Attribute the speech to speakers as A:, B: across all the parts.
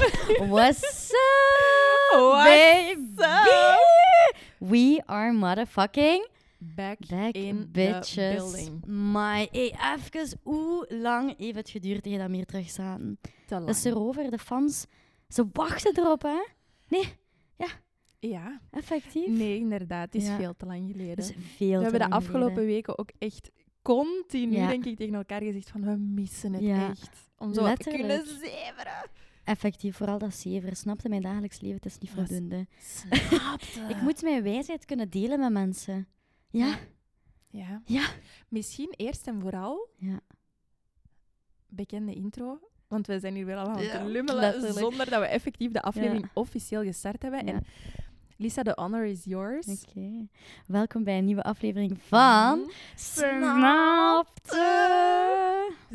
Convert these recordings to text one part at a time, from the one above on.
A: What's up,
B: What's
A: baby?
B: up?
A: We are motherfucking
B: Back,
A: back,
B: in the
A: bitches.
B: building.
A: Maar hey, even, hoe lang heeft het geduurd tegen dat we hier terug zaten?
B: Te lang.
A: Dat is erover, de fans, ze wachten erop, hè? Nee,
B: Ja.
A: effectief.
B: Nee, inderdaad. Het is
A: Ja.
B: veel te lang geleden.
A: Dat is veel
B: we
A: te
B: hebben de
A: lang
B: afgelopen
A: geleden.
B: weken ook echt continu,
A: Ja.
B: denk ik, tegen elkaar gezegd van we missen het
A: Ja.
B: echt. Om zo wat te kunnen
A: Letterlijk.
B: zeveren.
A: Effectief, vooral dat zever. Snapte mijn dagelijks leven, het is niet
B: Dat is- Ah.
A: voldoende.
B: Snapte.
A: Ik moet mijn wijsheid kunnen delen met mensen. Ja,
B: Ja.
A: Ja.
B: Misschien eerst en vooral
A: ja.
B: bekende intro. Want we zijn hier weer al aan het
A: Ja,
B: lummelen
A: letterlijk.
B: zonder dat we effectief de aflevering officieel gestart hebben.
A: Ja.
B: En Lisa, the honor is yours.
A: Oké. Welkom bij een nieuwe aflevering van Snapte.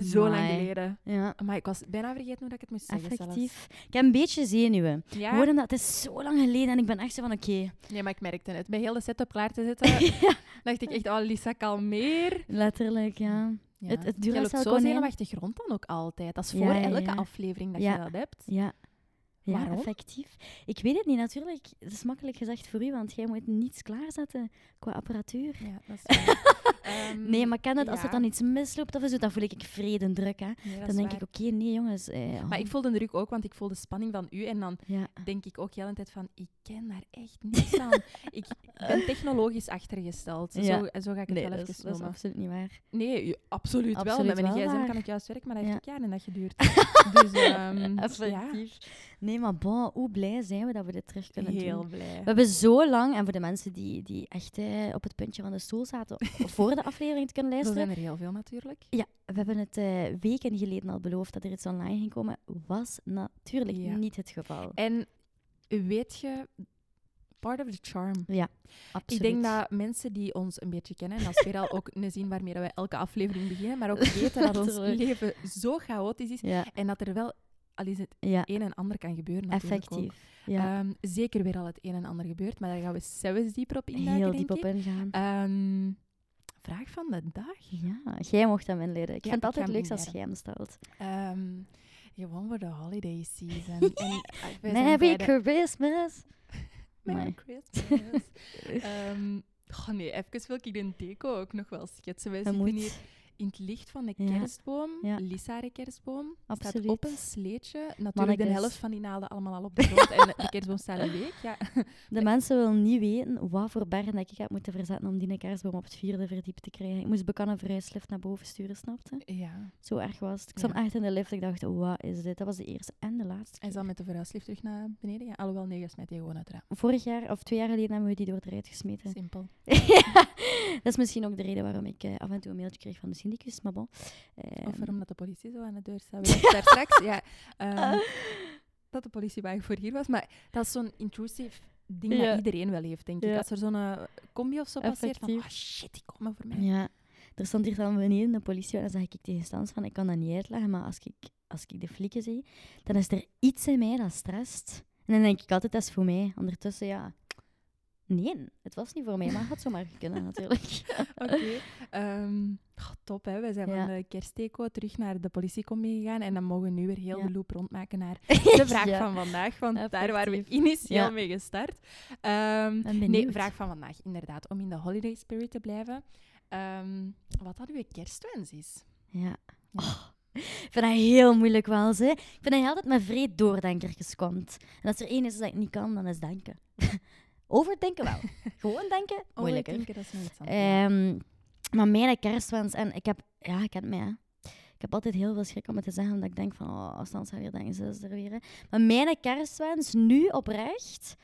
B: Zo lang
A: Amai.
B: geleden.
A: Ja,
B: Maar ik was bijna vergeten hoe dat ik het moest zeggen. zelfs.
A: effectief. Ik heb een beetje zenuwen.
B: Ja?
A: Gewoon omdat het is zo lang geleden en ik ben echt zo van oké.
B: Nee, maar ik merkte het. Bij heel de setup klaar te zetten,
A: ja,
B: dacht ik echt, oh Lisa, kalmeer.
A: letterlijk, ja. Het- het
B: je
A: Duracell
B: loopt zo
A: konijn.
B: zenuwachtergrond dan ook altijd. Dat is
A: Ja,
B: voor
A: ja,
B: elke
A: ja.
B: aflevering dat
A: Ja.
B: je dat hebt.
A: Ja. Ja,
B: Waarom?
A: effectief. Ik weet het niet, natuurlijk. Het is makkelijk gezegd voor u, want jij moet niets klaarzetten qua apparatuur.
B: Ja, dat is waar. Ehm,
A: Nee, maar ik ken het, als
B: ja.
A: er dan iets misloopt of zo, dan voel ik ik vrede druk, hè.
B: Nee, dat
A: Dan
B: is
A: denk
B: waar.
A: ik, oké, nee jongens. Eh,
B: Maar
A: oh,
B: ik voel de druk ook, want ik voel de spanning van u. En dan
A: Ja.
B: denk ik ook heel de tijd van, ik ken daar echt niks aan. ik ben technologisch achtergesteld.
A: Ja.
B: Zo, zo ga ik het
A: Nee,
B: wel
A: dat is, dat is
B: even noemen.
A: absoluut niet waar.
B: Nee, je- absoluut, wel.
A: Absoluut
B: Met mijn
A: wel
B: gsm
A: waar.
B: kan ik juist werken, maar dat heeft ook jaren dat geduurd. dus ehm, ja,
A: Effectief. Nee, maar bon, hoe blij zijn we dat we dit terug kunnen
B: heel
A: doen.
B: blij.
A: We hebben zo lang, en voor de mensen die, die echt eh, op het puntje van de stoel zaten voor de aflevering te kunnen
B: Zo
A: luisteren,
B: zijn er heel veel natuurlijk.
A: ja, we hebben het eh, weken geleden al beloofd dat er iets online ging komen. Was natuurlijk
B: Ja.
A: niet het geval.
B: En weet je, part of the charm. Ik
A: Absoluut.
B: denk dat mensen die ons een beetje kennen, en dat is weer al ook een zin waarmee dat wij elke aflevering beginnen, maar ook weten dat ons
A: Letterlijk.
B: leven zo chaotisch is
A: Ja,
B: en dat er wel al is het
A: ja
B: een en ander kan gebeuren. natuurlijk ook.
A: effectief. Ja,
B: Ehm, zeker weer al het een en ander gebeurt, maar daar gaan we zelfs dieper op induiken,
A: heel
B: denk
A: diep op
B: ik.
A: ingaan.
B: Ehm, vraag van de dag.
A: ja, jij mocht hem inleiden. Ik
B: Ja,
A: vind
B: ik
A: het
B: ga
A: altijd
B: hem
A: leuk als
B: inleiden.
A: jij hem stelt.
B: Ehm, gewoon voor de holiday season. en, eh, we zijn bij
A: Merry
B: de-
A: Christmas!
B: Merry
A: Amai.
B: Christmas. Ehm, goh, nee, even wil ik de deco ook nog wel schetsen. Wij
A: Hij
B: zitten
A: moet.
B: hier in het licht van de
A: Ja.
B: kerstboom.
A: Ja.
B: Lisa haar kerstboom. Staat
A: Absoluut.
B: op een sleetje. Natuurlijk de
A: Mannekes.
B: helft van die naalden allemaal al op de grond. en de kerstboom staat een week. Ja.
A: De mensen willen niet weten wat voor bergen dat ik heb moeten verzetten om die kerstboom op het vierde verdiep te krijgen. Ik moest bekan een verhuislift naar boven sturen, snapte?
B: ja.
A: Zo erg was het. Ik stond
B: Ja.
A: echt in de lift. Ik dacht, wat is dit? Dat was de eerste en de laatste
B: En
A: keer.
B: dan met de verhuislift terug naar beneden gaan. Alhoewel, nee, je smijt die gewoon uit het raam.
A: Vorig jaar of twee jaar geleden hebben we die door het eruit gesmeten.
B: Simpel.
A: Ja, dat is misschien ook de reden waarom ik eh, af en toe een mailtje kreeg van de syndicus, maar bon. Ehm,
B: Of waarom dat de politie zo aan de deur staat. We hebben het daar straks, ja.
A: Ah.
B: ehm, dat de politiewagen voor hier was. Maar dat is zo'n intrusive ding
A: Ja.
B: dat iedereen wel heeft, denk ik.
A: Ja.
B: Als er zo'n eh, combi of zo passeert, van oh
A: Effectief.
B: shit, die komen voor mij.
A: Ja, er stond hier dan beneden de politie en dan zeg ik tegen Stans van, ik kan dat niet uitleggen, maar als ik, als ik de flikken zie, dan is er iets in mij dat stresst. En dan denk ik altijd, dat is voor mij. Ondertussen, ja... Nee, het was niet voor mij, maar het had zomaar kunnen natuurlijk.
B: Oké. ehm, goh, top, hè. We zijn
A: Ja.
B: van de kerstdeco terug naar de politiecombi gegaan. En dan mogen we nu weer heel
A: Ja.
B: de loop rondmaken naar de vraag
A: Ja.
B: van vandaag. Want daar
A: Effectief.
B: waren we initieel
A: Ja.
B: mee gestart. Ehm,
A: Ben
B: nee,
A: benieuwd.
B: vraag van vandaag, inderdaad. Om in de holiday spirit te blijven. Ehm, wat dat uw kerstwens is?
A: Ja. Oh, ik vind dat heel moeilijk wel, ze. Ik vind dat je altijd met vreed doordenkertjes komt. En als er één is dat ik niet kan, dan is denken. Overdenken wel. Gewoon denken, moeilijker.
B: Overdenken, Oh, dat is nog iets anders.
A: Ehm, maar mijn kerstwens, en ik heb, ja, ik ken mij, hè. ik heb altijd heel veel schrik om het te zeggen, omdat ik denk van, oh, als dan ze weer denken, ze is er weer. hè. Maar mijn kerstwens nu oprecht,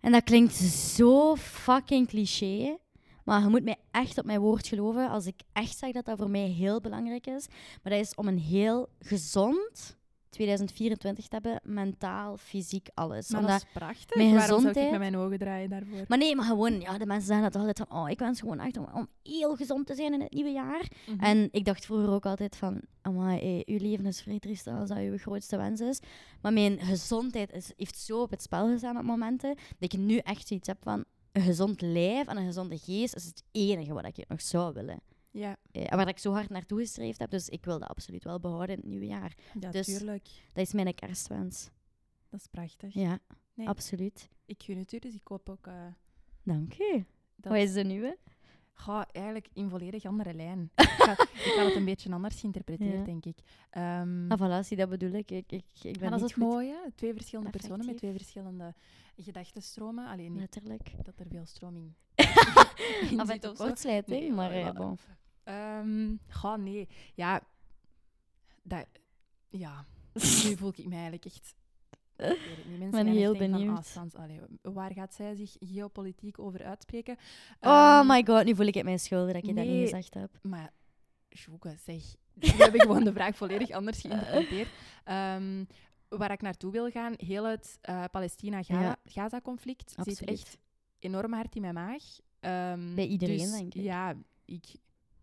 A: en dat klinkt zo fucking cliché, maar je moet mij echt op mijn woord geloven als ik echt zeg dat dat voor mij heel belangrijk is. Maar dat is om een heel gezond 2024 te hebben, mentaal, fysiek, alles.
B: maar
A: Omdat-
B: dat is prachtig.
A: dus mijn
B: Waarom zou ik
A: gezondheid-
B: met mijn ogen draaien daarvoor?
A: maar nee, maar gewoon, ja, de mensen zeggen dat altijd van, oh, ik wens gewoon echt om, om heel gezond te zijn in het nieuwe jaar.
B: Mhm.
A: En ik dacht vroeger ook altijd van, amai, eh, uw leven is vrij triest als dat uw grootste wens is. Maar mijn gezondheid is, heeft zo op het spel gestaan op momenten, dat ik nu echt zoiets heb van, een gezond lijf en een gezonde geest is het enige wat ik nog zou willen.
B: Ja,
A: Eh, en waar ik zo hard naartoe gestreefd heb, dus ik wil dat absoluut wel behouden in het nieuwe jaar.
B: ja
A: Dus-
B: tuurlijk.
A: Dat is mijn kerstwens.
B: Dat is prachtig.
A: Ja,
B: Nee.
A: absoluut.
B: Ik gun het u, dus ik koop ook... eh,
A: Dank u.
B: dat...
A: Wat is de nieuwe?
B: Goh, eigenlijk in volledig andere lijn. ik, had, ik had het een beetje anders geïnterpreteerd,
A: Ja.
B: denk ik. Ehm,
A: Ah, voilà, zie, dat bedoel ik. Ik, ik, ik ben
B: maar dat
A: niet
B: is het
A: goed.
B: mooie. Twee verschillende personen met
A: Affectief.
B: twee verschillende gedachtenstromen. Alleen niet
A: Letterlijk.
B: dat er veel stroming in
A: Af en
B: zit
A: toe
B: of zo.
A: kortsluiting,
B: Nee,
A: maar
B: maar
A: eh,
B: ja.
A: bon.
B: Ehm, goh, nee. Ja, dat, ja. nu voel ik me eigenlijk echt... Ik weet het niet. Mensen
A: ben
B: gaan echt
A: heel
B: denken van,
A: benieuwd.
B: ah, Sans, allee, waar gaat zij zich geopolitiek over uitspreken?
A: Oh
B: Ehm,
A: my god, nu voel ik het mijn schulden dat ik dat
B: nee.
A: niet gezegd heb.
B: Maar, Joege, zeg. We hebben gewoon de vraag volledig anders geïnterpreteerd. Ehm, waar ik naartoe wil gaan, heel het eh,
A: Ja.
B: Palestina-Gaza-conflict zit
A: Absoluut.
B: echt enorm hard in mijn maag. Ehm,
A: Bij iedereen,
B: dus
A: denk ik.
B: Ja, ik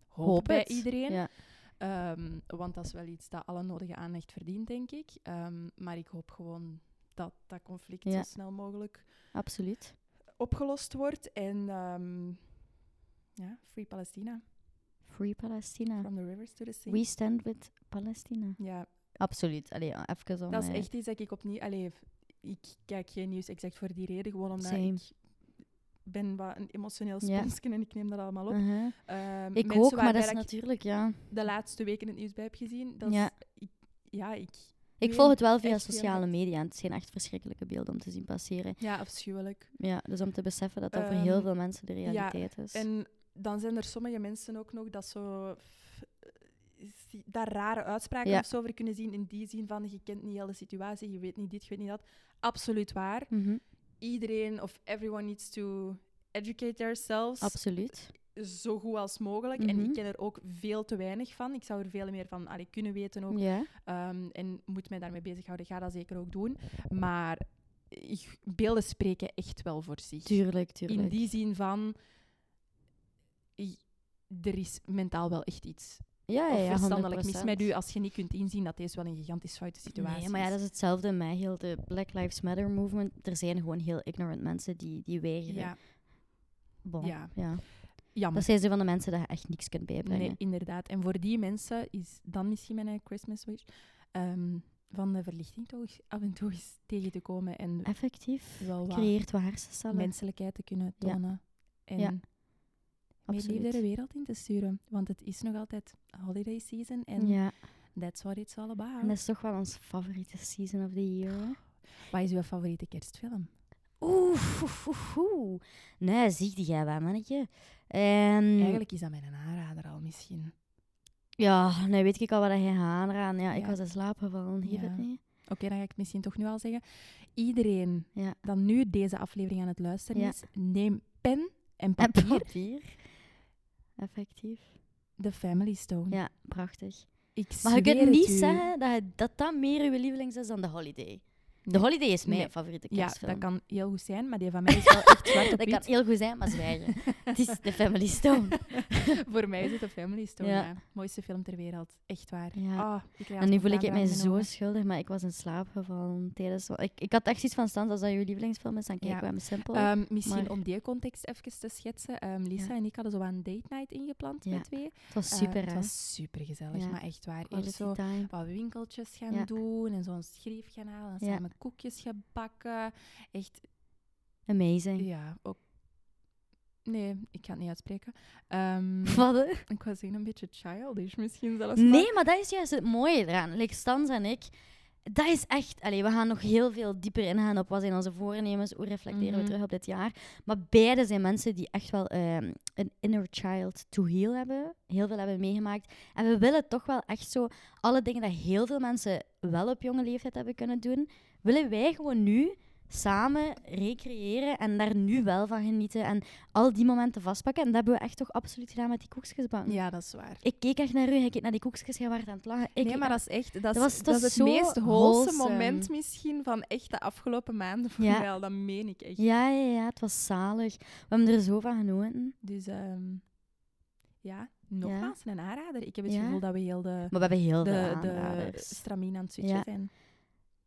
B: hoop,
A: Hoop
B: bij
A: het.
B: iedereen.
A: Ja.
B: Ehm, want dat is wel iets dat alle nodige aandacht verdient, denk ik. Ehm, maar ik hoop gewoon dat dat conflict zo
A: Ja.
B: snel mogelijk
A: Absoluut.
B: opgelost wordt. En ehm, ja, Free Palestina,
A: Free Palestina.
B: from the rivers to the sea.
A: We stand with Palestina.
B: Ja,
A: Absoluut. Allee, even om...
B: dat is
A: eh,
B: echt iets dat ik opnieuw... Allee, ik kijk geen nieuws exact voor die reden, gewoon omdat
A: Same.
B: ik ben wat een emotioneel
A: Ja.
B: sponsken en ik neem dat allemaal op.
A: uh-huh.
B: Ehm,
A: Ik
B: mensen
A: ook, maar
B: waarbij
A: dat is
B: ik
A: natuurlijk, ja.
B: de laatste weken het nieuws bij heb gezien, dat
A: Ja.
B: is... Ik, ja, ik...
A: Ik
B: Nee,
A: volg het wel via
B: echt heel
A: sociale
B: hard.
A: media. en Het zijn echt verschrikkelijke beelden om te zien passeren.
B: Ja, afschuwelijk.
A: Ja, dus om te beseffen dat dat voor heel
B: Ehm,
A: veel mensen de realiteit is.
B: En dan zijn er sommige mensen ook nog dat zo... f- zie- Daar rare uitspraken
A: Ja.
B: of zo over kunnen zien. In die zin van, je kent niet heel de situatie, je weet niet dit, je weet niet dat. Absoluut waar.
A: Mhm,
B: Iedereen of everyone needs to educate themselves.
A: Absoluut.
B: zo goed als mogelijk. En
A: Mhm.
B: ik ken er ook veel te weinig van. Ik zou er veel meer van allee, kunnen weten ook.
A: Ja.
B: Ehm, en moet mij daarmee bezighouden. Ga dat zeker ook doen. Maar ik- beelden spreken echt wel voor zich.
A: Tuurlijk, tuurlijk.
B: In die zin van... i- Er is mentaal wel echt iets.
A: ja, ja,
B: of
A: ja,
B: verstandelijk mis
A: 100%.
B: met u als je niet kunt inzien dat deze wel een gigantisch foute situatie
A: Nee, maar ja, dat is hetzelfde in mij. Heel de Black Lives Matter movement. Er zijn gewoon heel ignorant mensen die, die weigeren.
B: Ja,
A: Bon,
B: ja.
A: ja.
B: jammer.
A: Dat zijn ze van de mensen dat je echt niks kunt bijbrengen.
B: Nee, inderdaad. En voor die mensen is dan misschien mijn eh, Christmas wish ehm, van de verlichting toch eens af en toe eens tegen te komen en
A: Effectief.
B: wel wat
A: Creëert wat hersencellen.
B: menselijkheid te kunnen
A: Ja.
B: tonen. En
A: Ja,
B: meer liefde de
A: Absoluut.
B: wereld in te sturen. Want het is nog altijd holiday season en
A: Ja,
B: that's what it's all about.
A: en dat is toch wel ons favoriete season of the year. hè?
B: Wat is uw favoriete kerstfilm?
A: Oeh, oeh, oeh, oeh. Nee, zie die jij wel, mannetje. Ehm,
B: Eigenlijk is dat mijn aanrader al misschien.
A: Ja, nee, weet ik al wat hij gaat aanraden. Ja, ik
B: Ja.
A: was in slaap gevallen, heeft
B: Ja.
A: het niet?
B: Oké, dan ga ik het misschien toch nu al zeggen. Iedereen
A: Ja.
B: dat nu deze aflevering aan het luisteren
A: Ja.
B: is, neem pen
A: En
B: en papier.
A: papier. Effectief.
B: The Family Stone.
A: Ja, prachtig.
B: Ik
A: Maar je
B: zweer
A: kunt niet
B: u.
A: zeggen dat, je- dat dat meer je lievelings is dan de Holiday. De
B: Nee.
A: Holiday is mijn
B: Nee.
A: favoriete
B: Ja,
A: kerstfilm.
B: dat kan heel goed zijn, maar die van mij is wel echt zwart op
A: Dat kan
B: wit.
A: heel goed zijn, maar zwijgen. Het is de Family Stone.
B: Voor mij is het een Family Stone.
A: Ja.
B: ja. Mooiste film ter wereld. Echt waar.
A: Ja.
B: Ah, ik krijg
A: en nu voel
B: spontaan
A: ik het mij
B: tranen in
A: zo
B: mijn
A: schuldig, maar ik was in slaap gevallen tijdens... Ik, ik had echt zoiets van, Stans, als dat je lievelingsfilm is, dan kijken
B: Ja.
A: we hem simpel.
B: ogen. Ehm, misschien
A: maar-
B: om die context even te schetsen. ehm, Lisa
A: Ja.
B: en ik hadden zo aan date night ingepland
A: Ja.
B: met twee.
A: het was
B: Eh,
A: super,
B: het
A: hè?
B: was super gezellig,
A: Ja. Oh,
B: maar echt waar.
A: Quality
B: Eerst zo
A: time.
B: wat winkeltjes gaan
A: Ja.
B: doen en zo'n schreef gaan halen. En
A: Ja.
B: samen koekjes gebakken. Echt,
A: Amazing.
B: ja, ook... Nee, ik ga het niet uitspreken. Ehm,
A: Wat, hè?
B: ik was zeggen een beetje childish misschien zelfs. maar-
A: Nee, maar dat is juist het mooie eraan. Like Stans en ik, dat is echt... Allee, we gaan nog heel veel dieper ingaan op wat zijn onze voornemens, hoe reflecteren
B: Mhm.
A: we terug op dit jaar. Maar beide zijn mensen die echt wel ehm, een inner child to heal hebben. Heel veel hebben meegemaakt. En we willen toch wel echt zo... Alle dingen dat heel veel mensen wel op jonge leeftijd hebben kunnen doen, willen wij gewoon nu samen recreëren en daar nu wel van genieten en al die momenten vastpakken. En dat hebben we echt toch absoluut gedaan met die koekjesbank.
B: Ja, dat is waar.
A: Ik keek echt naar u, hij keek naar die koekjes, jij werd aan het lachen. Ik
B: nee,
A: keek
B: maar
A: naar-
B: dat is echt... Dat, is-
A: was-
B: dat
A: dat
B: is
A: is
B: het
A: zo
B: meest holse
A: wholesome.
B: moment misschien van echt de afgelopen maanden voor
A: Ja.
B: mij al. Dat meen ik echt.
A: Ja, ja, ja, het was zalig. We hebben er zo van genoten.
B: Dus ehm, ja, nogmaals een aanrader. Ik heb het
A: Ja.
B: gevoel dat we heel de,
A: Maar we hebben heel
B: de,
A: veel
B: de
A: aanraders.
B: stramien aan het switchen
A: Ja.
B: zijn.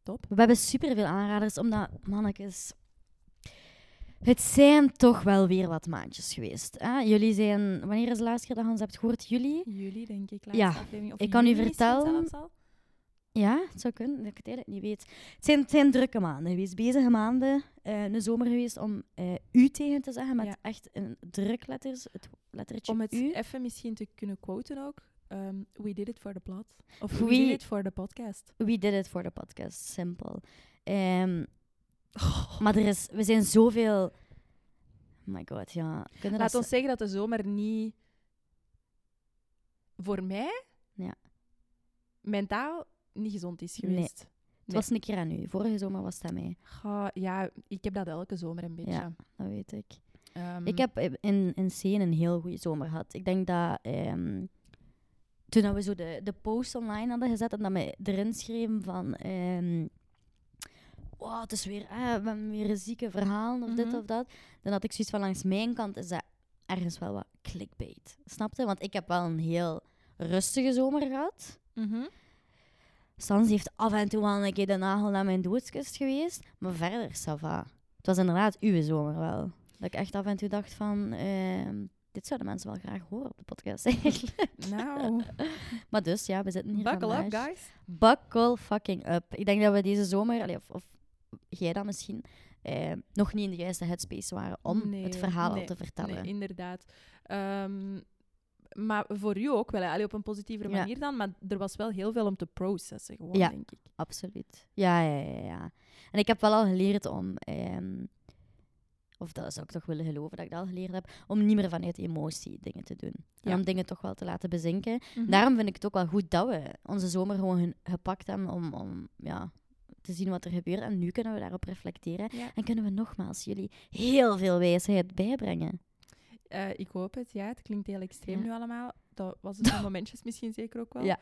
B: Top.
A: We hebben superveel aanraders, omdat, mannetjes... Het zijn toch wel weer wat maandjes geweest. Hè? Jullie zijn... Wanneer is de laatste keer dat je ons hebt gehoord? Jullie?
B: Jullie, denk ik,
A: Ja.
B: laatste aflevering. Of
A: Ik kan u
B: juni misschien
A: vertellen-
B: zelfs al.
A: Ja, het zou kunnen, dat ik het eigenlijk niet weet. Het zijn, het zijn drukke maanden geweest, bezige maanden. eh, een zomer geweest om eh, u tegen te zeggen, met
B: Ja.
A: echt een drukletters, het lettertje
B: Om het
A: u.
B: even misschien te kunnen quoten ook. ehm, we did it for the plot. Of we,
A: We-
B: did it for the podcast.
A: We did it for the podcast, simpel. Ehm, Oh, Maar er is, we zijn zoveel... Oh my god, ja. Kunnen
B: Laat
A: dat
B: ons zeggen dat de zomer niet... Voor mij...
A: Ja.
B: Mentaal niet gezond is
A: Nee.
B: geweest.
A: Het was een keer aan u. Vorige zomer was dat mij,
B: Goh, ja, ik heb dat elke zomer een beetje.
A: Ja. dat weet ik.
B: Ehm,
A: Ik heb in, in C een heel goede zomer gehad. Ik denk dat ehm, toen dat we zo de, de post online hadden gezet en dat we erin schreven van. ehm wow, het is weer, eh, we hebben weer een zieke verhaal of dit
B: Mhm.
A: of dat. Dan had ik zoiets van langs mijn kant is dat ergens wel wat clickbait. Snapte? Want ik heb wel een heel rustige zomer gehad.
B: mhm.
A: Sans heeft af en toe wel een keer de nagel naar mijn doodskist geweest. Maar verder, ça va. Het was inderdaad uw zomer wel. Dat ik echt af en toe dacht van... ehm, dit zouden mensen wel graag horen op de podcast eigenlijk.
B: Nou,
A: maar dus, ja, we zitten hier
B: buckle
A: vandaag.
B: up, guys.
A: Buckle fucking up. Ik denk dat we deze zomer, allee, of, of jij dan misschien, eh, nog niet in de juiste headspace waren om
B: Nee,
A: het verhaal al
B: nee,
A: te vertellen.
B: Nee, inderdaad. Ehm, maar voor u ook wel, hè. Allee, op een positievere
A: Ja.
B: manier dan. Maar er was wel heel veel om te processen, gewoon,
A: Ja.
B: denk ik.
A: Absoluut. Ja, ja, ja, ja. En ik heb wel al geleerd om, ehm, of dat zou ik toch willen geloven dat ik dat al geleerd heb, om niet meer vanuit emotie dingen te doen. En
B: Ja.
A: om dingen toch wel te laten bezinken.
B: Mhm.
A: Daarom vind ik het ook wel goed dat we onze zomer gewoon ge- gepakt hebben om, om ja, te zien wat er gebeurt. En nu kunnen we daarop reflecteren.
B: Ja.
A: En kunnen we nogmaals jullie heel veel wijsheid bijbrengen.
B: Eh, ik hoop het, ja. Het klinkt heel extreem
A: Ja.
B: nu allemaal. Dat was het van momentjes misschien zeker ook wel.
A: Ja.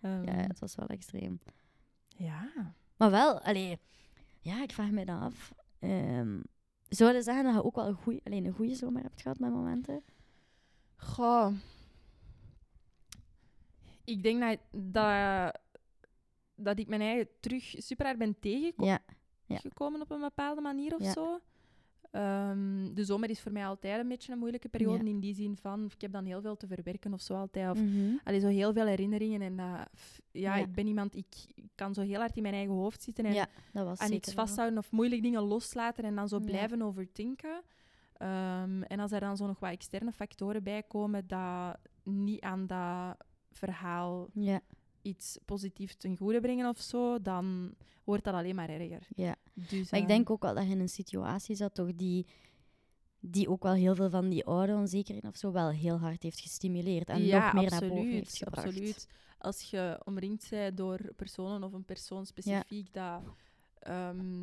B: Ehm,
A: Ja, het was wel extreem.
B: ja.
A: Maar wel, allee, ja, ik vraag me dan af. Ehm zou je zeggen dat je ook wel een goeie, alleen een goede zomer hebt gehad met momenten?
B: Goh. Ik denk dat, dat, dat ik mijn eigen terug super hard ben tegengekomen.
A: Ja, Ja.
B: gekomen op een bepaalde manier of
A: Ja.
B: zo. Ehm, de zomer is voor mij altijd een beetje een moeilijke periode.
A: Ja. Mm.
B: In die zin van, ik heb dan heel veel te verwerken of zo altijd. Of, allee, zo heel veel herinneringen. En dat, f- ja,
A: Ja.
B: ik ben iemand, ik ik kan zo heel hard in mijn eigen hoofd zitten. En
A: Ja, dat was
B: aan
A: zeker
B: iets
A: wel.
B: vasthouden of moeilijk dingen loslaten en dan zo
A: Ja.
B: blijven overdenken. Ehm, en als er dan zo nog wat externe factoren bij komen dat niet aan dat verhaal
A: Ja,
B: iets positiefs ten goede brengen of zo, dan wordt dat alleen maar erger.
A: ja.
B: Dus,
A: Maar ik
B: ehm,
A: denk ook wel dat je in een situatie zat toch die, die ook wel heel veel van die oude onzekerheden of zo wel heel hard heeft gestimuleerd. En nog meer naar boven heeft gebracht.
B: absoluut. Als je omringd bent door personen of een persoon specifiek dat ehm,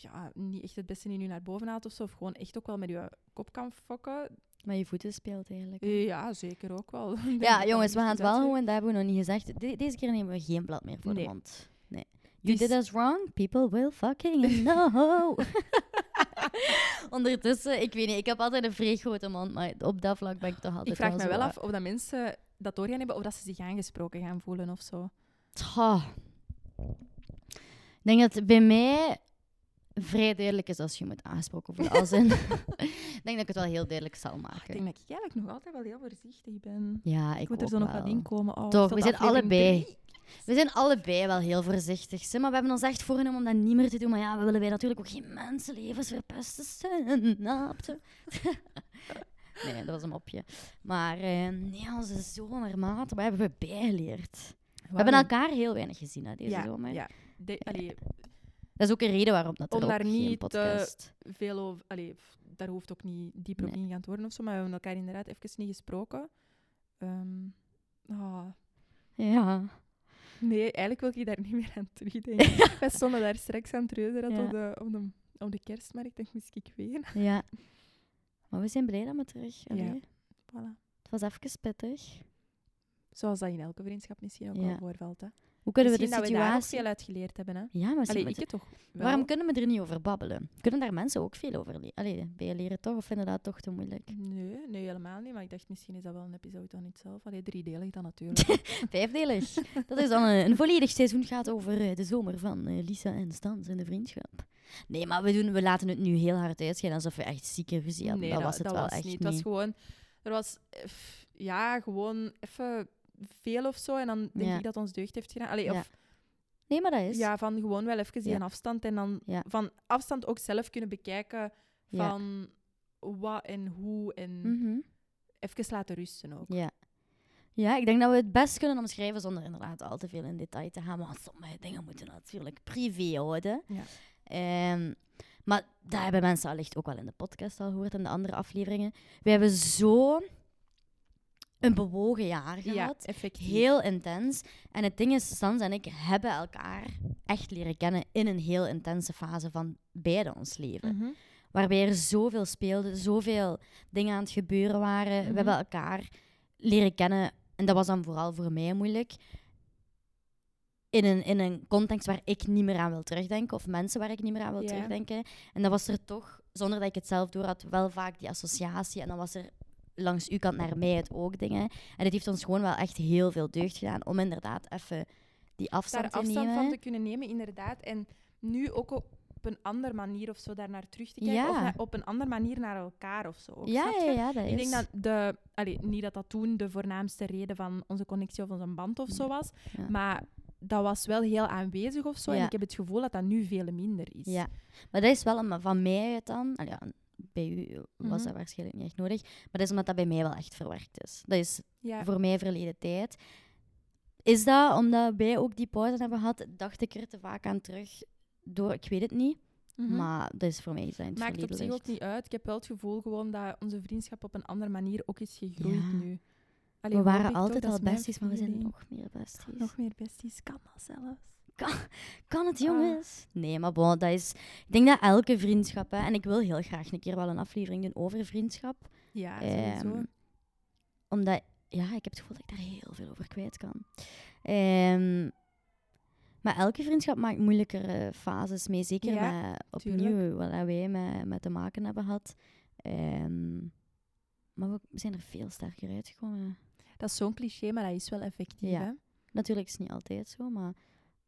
B: ja, niet echt het beste in je naar boven haalt of zo, of gewoon echt ook wel met je kop kan fokken,
A: Maar je voeten speelt eigenlijk.
B: Eh, Ja, zeker ook wel. Ik denk dat
A: Ja,
B: dat
A: jongens, we
B: echt
A: gaan het wel
B: uitwerkt.
A: gewoon, dat hebben we nog niet gezegd. De- deze keer nemen we geen blad meer voor
B: Nee.
A: de mond. Nee. You
B: Dus-
A: did us wrong, people will fucking know. Ondertussen, ik weet niet, ik heb altijd een vrij grote mond, maar op dat vlak ben ik toch altijd
B: Ik vraag
A: wel
B: me
A: zo,
B: wel
A: eh,
B: af of dat mensen dat doorgaan hebben of dat ze zich aangesproken gaan voelen of zo.
A: tja. Ik denk dat het bij mij vrij duidelijk is als je moet aangesproken voelen. Als in, ik denk dat ik het wel heel duidelijk zal
B: Ik
A: maken.
B: denk dat ik eigenlijk nog altijd wel heel voorzichtig ben. Ik,
A: ja, ik,
B: moet er
A: ook
B: zo nog
A: wel.
B: wat in komen. Oh,
A: Toch,
B: tot
A: we zijn
B: aflevering
A: allebei.
B: drie.
A: We zijn allebei wel heel voorzichtig, hè, maar we hebben ons echt voorgenomen om dat niet meer te doen. Maar ja, we willen wij natuurlijk ook geen mensenlevens verpesten. Snap je? nee, dat was een mopje. Maar eh, nee, onze zomermaat, wat hebben we bijgeleerd? We hebben
B: Waarom?
A: elkaar heel weinig gezien hè, deze
B: ja,
A: zomer.
B: Ja. De- allee,
A: Dat is ook een reden waarom dat er
B: Om
A: ook
B: daar
A: geen
B: niet,
A: podcast...
B: veel over, allee, f- daar hoeft ook niet dieper op
A: Nee.
B: ingegaan te worden of zo, maar we hebben elkaar inderdaad even niet gesproken. Ehm, ah,
A: Ja.
B: Nee, eigenlijk wil ik daar niet meer aan terugdenken. Wij stonden daar straks aan het reuzeren
A: Ja.
B: op, de, op, de, op de kerstmarkt. Ik denk, moest ik weer?
A: ja. Maar we zijn blij dat we terug...
B: Ja.
A: allee,
B: Voilà.
A: Het was even pittig.
B: Zoals dat in elke vriendschap misschien ook
A: Ja.
B: wel voorvalt. Hè.
A: Hoe kunnen
B: Misschien
A: we de
B: dat we daar ook
A: situatie...
B: veel uit geleerd hebben. Hè.
A: ja, maar misschien
B: Allee,
A: moeten-
B: ik het toch wel.
A: Waarom kunnen we er niet over babbelen? Kunnen daar mensen ook veel over le- Allee, bij je leren toch? Of vinden dat toch te moeilijk?
B: Nee, nee, helemaal niet. Maar ik dacht, misschien is dat wel een episode dan niet zelf. Allee, driedelig dan natuurlijk.
A: Vijfdelig. Dat is dan een, een volledig seizoen gaat over eh, de zomer van eh, Lisa en Stans en de vriendschap. Nee, maar we, doen, we laten het nu heel hard uitschijnen alsof we echt zieke ruzie hadden. dat, was het wel echt
B: niet.
A: niet.
B: Het was gewoon... Er was... eh, f- Ja, gewoon even veel of zo. En dan denk
A: Ja.
B: ik dat ons deugd heeft gedaan. Allee,
A: Ja.
B: of
A: Nee, maar dat is.
B: Ja, van gewoon wel even die
A: Ja.
B: een afstand en dan
A: Ja.
B: van afstand ook zelf kunnen bekijken
A: Ja.
B: van wat en hoe en
A: Mhm.
B: even laten rusten ook.
A: Ja. Ja, ik denk dat we het best kunnen omschrijven zonder inderdaad al te veel in detail te gaan. Want sommige dingen moeten natuurlijk privé houden.
B: Ja.
A: Ehm, maar dat hebben mensen allicht ook wel in de podcast al gehoord en de andere afleveringen. We hebben zo een bewogen jaar
B: Ja,
A: gehad.
B: effectief.
A: Heel intens. En het ding is, Sans en ik hebben elkaar echt leren kennen in een heel intense fase van beide ons leven
B: Mhm.
A: waarbij er zoveel speelde, zoveel dingen aan het gebeuren waren.
B: Mhm.
A: We hebben elkaar leren kennen, en dat was dan vooral voor mij moeilijk, in een, in een context waar ik niet meer aan wil terugdenken, of mensen waar ik niet meer aan wil
B: Ja.
A: terugdenken. En dat was er toch, zonder dat ik het zelf door had, wel vaak die associatie. En dan was er langs uw kant naar mij het ook dingen. En het heeft ons gewoon wel echt heel veel deugd gedaan om inderdaad even die afstand
B: Daar
A: te
B: afstand
A: nemen.
B: van te kunnen nemen, inderdaad. En nu ook op een andere manier of zo daar naar terug te kijken.
A: Ja.
B: Of na- op een andere manier naar elkaar of zo. ook,
A: ja,
B: snap
A: ja,
B: je?
A: ja, dat
B: Ik denk
A: is.
B: dat de, allee, niet dat dat toen de voornaamste reden van onze connectie of onze band of zo was,
A: Ja.
B: maar dat was wel heel aanwezig of zo. En
A: Ja.
B: ik heb het gevoel dat dat nu veel minder is.
A: Ja, maar dat is wel een- van mij uit dan. allee, ja, bij u was
B: Mhm.
A: dat waarschijnlijk niet echt nodig. Maar dat is omdat dat bij mij wel echt verwerkt is. Dat is
B: Ja.
A: voor mij verleden tijd. Is dat omdat wij ook die pauze hebben gehad, dacht ik er te vaak aan terug door, ik weet het niet.
B: Mhm.
A: Maar dat is voor mij iets dat in het
B: Maakt op
A: verleden
B: zich ook
A: ligt.
B: niet uit. Ik heb wel het gevoel gewoon dat onze vriendschap op een andere manier ook is gegroeid
A: Ja.
B: nu. Allee,
A: We
B: hoop ik
A: waren
B: toch,
A: altijd
B: dat
A: al
B: is mijn
A: besties, maar we zijn
B: feeling.
A: nog meer besties.
B: nog Ah. meer besties. Kan dat zelfs.
A: Kan het, jongens? Nee, maar bon, dat is... Ik denk dat elke vriendschap... Hè, en ik wil heel graag een keer wel een aflevering doen over vriendschap.
B: Ja,
A: Ehm,
B: sowieso.
A: omdat, ja, ik heb het gevoel dat ik daar heel veel over kwijt kan. Ehm, maar elke vriendschap maakt moeilijkere fases mee. Zeker
B: Ja,
A: met,
B: tuurlijk.
A: opnieuw wat dat wij met, met te maken hebben gehad. Ehm, maar we zijn er veel sterker uitgekomen.
B: Dat is zo'n cliché, maar dat is wel effectief.
A: Ja.
B: hè?
A: Natuurlijk is het niet altijd zo, maar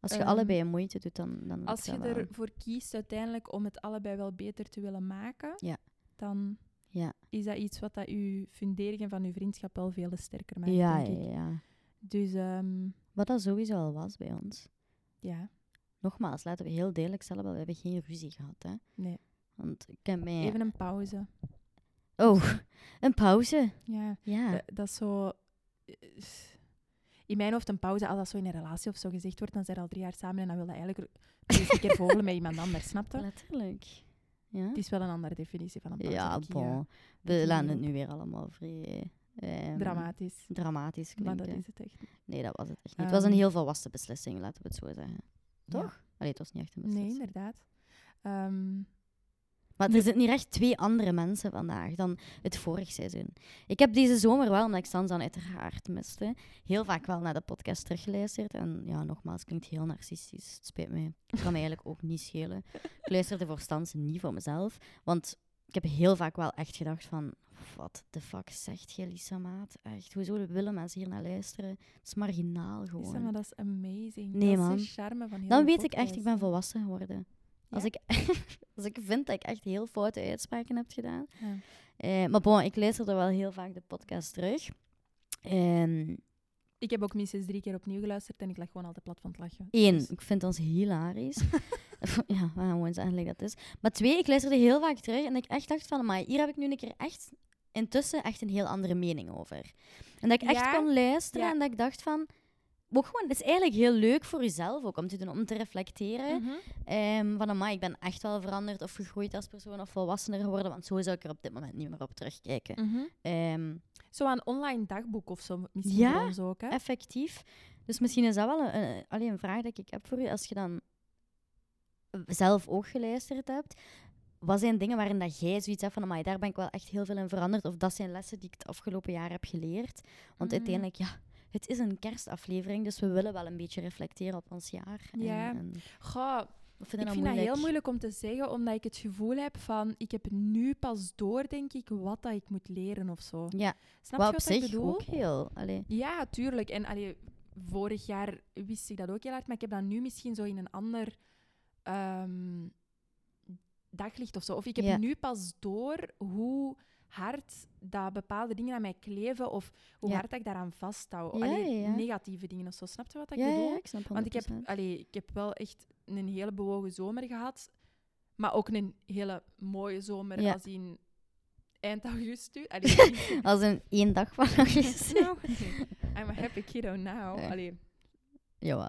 A: als je
B: Ehm,
A: allebei moeite doet, dan... dan lukt
B: Als je
A: dat wel.
B: ervoor kiest uiteindelijk om het allebei wel beter te willen maken,
A: Ja.
B: dan
A: Ja.
B: is dat iets wat dat je funderingen van je vriendschap wel veel sterker maakt,
A: ja,
B: denk ik.
A: ja, ja.
B: Dus ehm,
A: Wat dat sowieso al was bij ons.
B: ja,
A: Nogmaals, laten we heel duidelijk stellen, we hebben geen ruzie gehad, hè.
B: Nee.
A: Want ik heb mij...
B: even een pauze.
A: Oh, een pauze.
B: Ja.
A: Ja.
B: Eh, Dat is zo... eh, In mijn hoofd een pauze, als dat zo in een relatie of zo gezegd wordt, dan zijn we al drie jaar samen en dan wil dat eigenlijk dus een keer vogelen met iemand anders, snapte?
A: Letterlijk. Ja,
B: Het is wel een andere definitie van een pauze.
A: ja
B: Kiki, hè.
A: bon.
B: dat
A: We
B: is
A: laten het
B: niet
A: nu weer allemaal vrij ehm,
B: Dramatisch.
A: dramatisch
B: Maar
A: klinken.
B: dat is het echt. niet.
A: Nee, dat was het echt niet. Het was
B: Ehm.
A: een heel volwassen beslissing, laten we het zo zeggen. Toch? Allee, het was niet echt een
B: Nee,
A: beslissing.
B: inderdaad. Ehm,
A: maar er zitten hier echt twee andere mensen vandaag dan het vorig seizoen. Ik heb deze zomer wel, omdat ik Sansan uiteraard miste, heel vaak wel naar de podcast teruggeluisterd. En ja, nogmaals, klinkt heel narcistisch. Het spijt me. Het kan me eigenlijk ook niet schelen. Ik luisterde voor Stans en niet voor mezelf. Want ik heb heel vaak wel echt gedacht van... Wat de fuck zegt je, Lisa Maat? Echt, hoezo willen mensen hier naar luisteren? Het is marginaal
B: Lisa, maar
A: gewoon.
B: dat is amazing.
A: Nee,
B: dat
A: man.
B: is de charme van heel
A: Dan
B: de
A: weet ik echt, ik
B: podcast.
A: ben volwassen geworden. Als,
B: Ja?
A: ik, als ik vind dat ik echt heel foute uitspraken heb gedaan.
B: Ja.
A: Eh, maar bon, ik luisterde wel heel vaak de podcast terug. Eén,
B: Ik heb ook minstens drie keer opnieuw geluisterd en ik lag gewoon altijd plat van het lachen.
A: één,
B: Dus-
A: ik vind ons hilarisch. ja, we gaan gewoon zeggen dat het is. Maar twee, ik luisterde heel vaak terug en ik echt dacht van... Maar hier heb ik nu een keer echt intussen echt een heel andere mening over. En dat ik echt
B: Ja?
A: kon luisteren
B: Ja.
A: en dat ik dacht van... Ook gewoon, het is eigenlijk heel leuk voor jezelf ook om te doen, om te reflecteren.
B: Mhm.
A: Ehm, van amai, ik ben echt wel veranderd of gegroeid als persoon of volwassener geworden, want zo zou ik er op dit moment niet meer op terugkijken.
B: Mhm.
A: Ehm,
B: Zo een online dagboek of zo, misschien
A: Ja?
B: voor ons ook. Hè?
A: effectief. Dus misschien is dat wel een, een, allee, een vraag die ik heb voor u. Als je dan zelf ook geluisterd hebt, wat zijn dingen waarin dat jij zoiets hebt van amai, daar ben ik wel echt heel veel in veranderd? Of dat zijn lessen die ik het afgelopen jaar heb geleerd? Want
B: Mm.
A: uiteindelijk, ja, het is een kerstaflevering, dus we willen wel een beetje reflecteren op ons jaar. En-
B: Ja.
A: en
B: Goh,
A: we
B: ik
A: vinden
B: vind dat heel moeilijk om te zeggen, omdat ik het gevoel heb van... Ik heb nu pas door, denk ik, wat dat ik moet leren of zo.
A: Ja,
B: Snap je
A: wat op
B: wat ik
A: zich
B: bedoel?
A: ook heel... Allee.
B: Ja, tuurlijk. En allee, vorig jaar wist ik dat ook heel hard, maar ik heb dat nu misschien zo in een ander ehm, daglicht of zo. Of ik heb
A: Ja.
B: nu pas door hoe hard dat bepaalde dingen aan mij kleven of hoe
A: Ja.
B: hard dat ik daaraan vasthoud.
A: Ja,
B: Allee,
A: ja, ja.
B: negatieve dingen of zo. Snap je wat ik
A: ja,
B: bedoel?
A: ja, ik snap
B: Want ik heb,
A: 100%.
B: allee, ik heb wel echt een hele bewogen zomer gehad. Maar ook een hele mooie zomer
A: Ja.
B: als in eind augustus. Allee, begin-
A: Als een één dag van augustus.
B: Nou, I'm a happy kiddo now.
A: Ja.
B: Allee,
A: Jawel.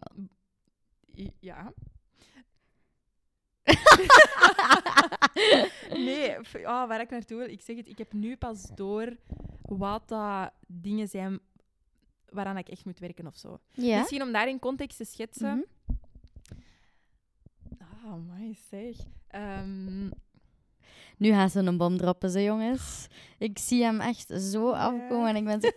B: i- ja. Nee, f- ah, waar ik naartoe wil. Ik zeg het, ik heb nu pas door wat dat dingen zijn waaraan ik echt moet werken of zo.
A: ja.
B: Misschien om daarin context te
A: Mhm.
B: schetsen. Ah, my zeg. Ehm,
A: Nu gaat ze een bom droppen, ze jongens. Ik zie hem echt zo afkomen en ik ben zo...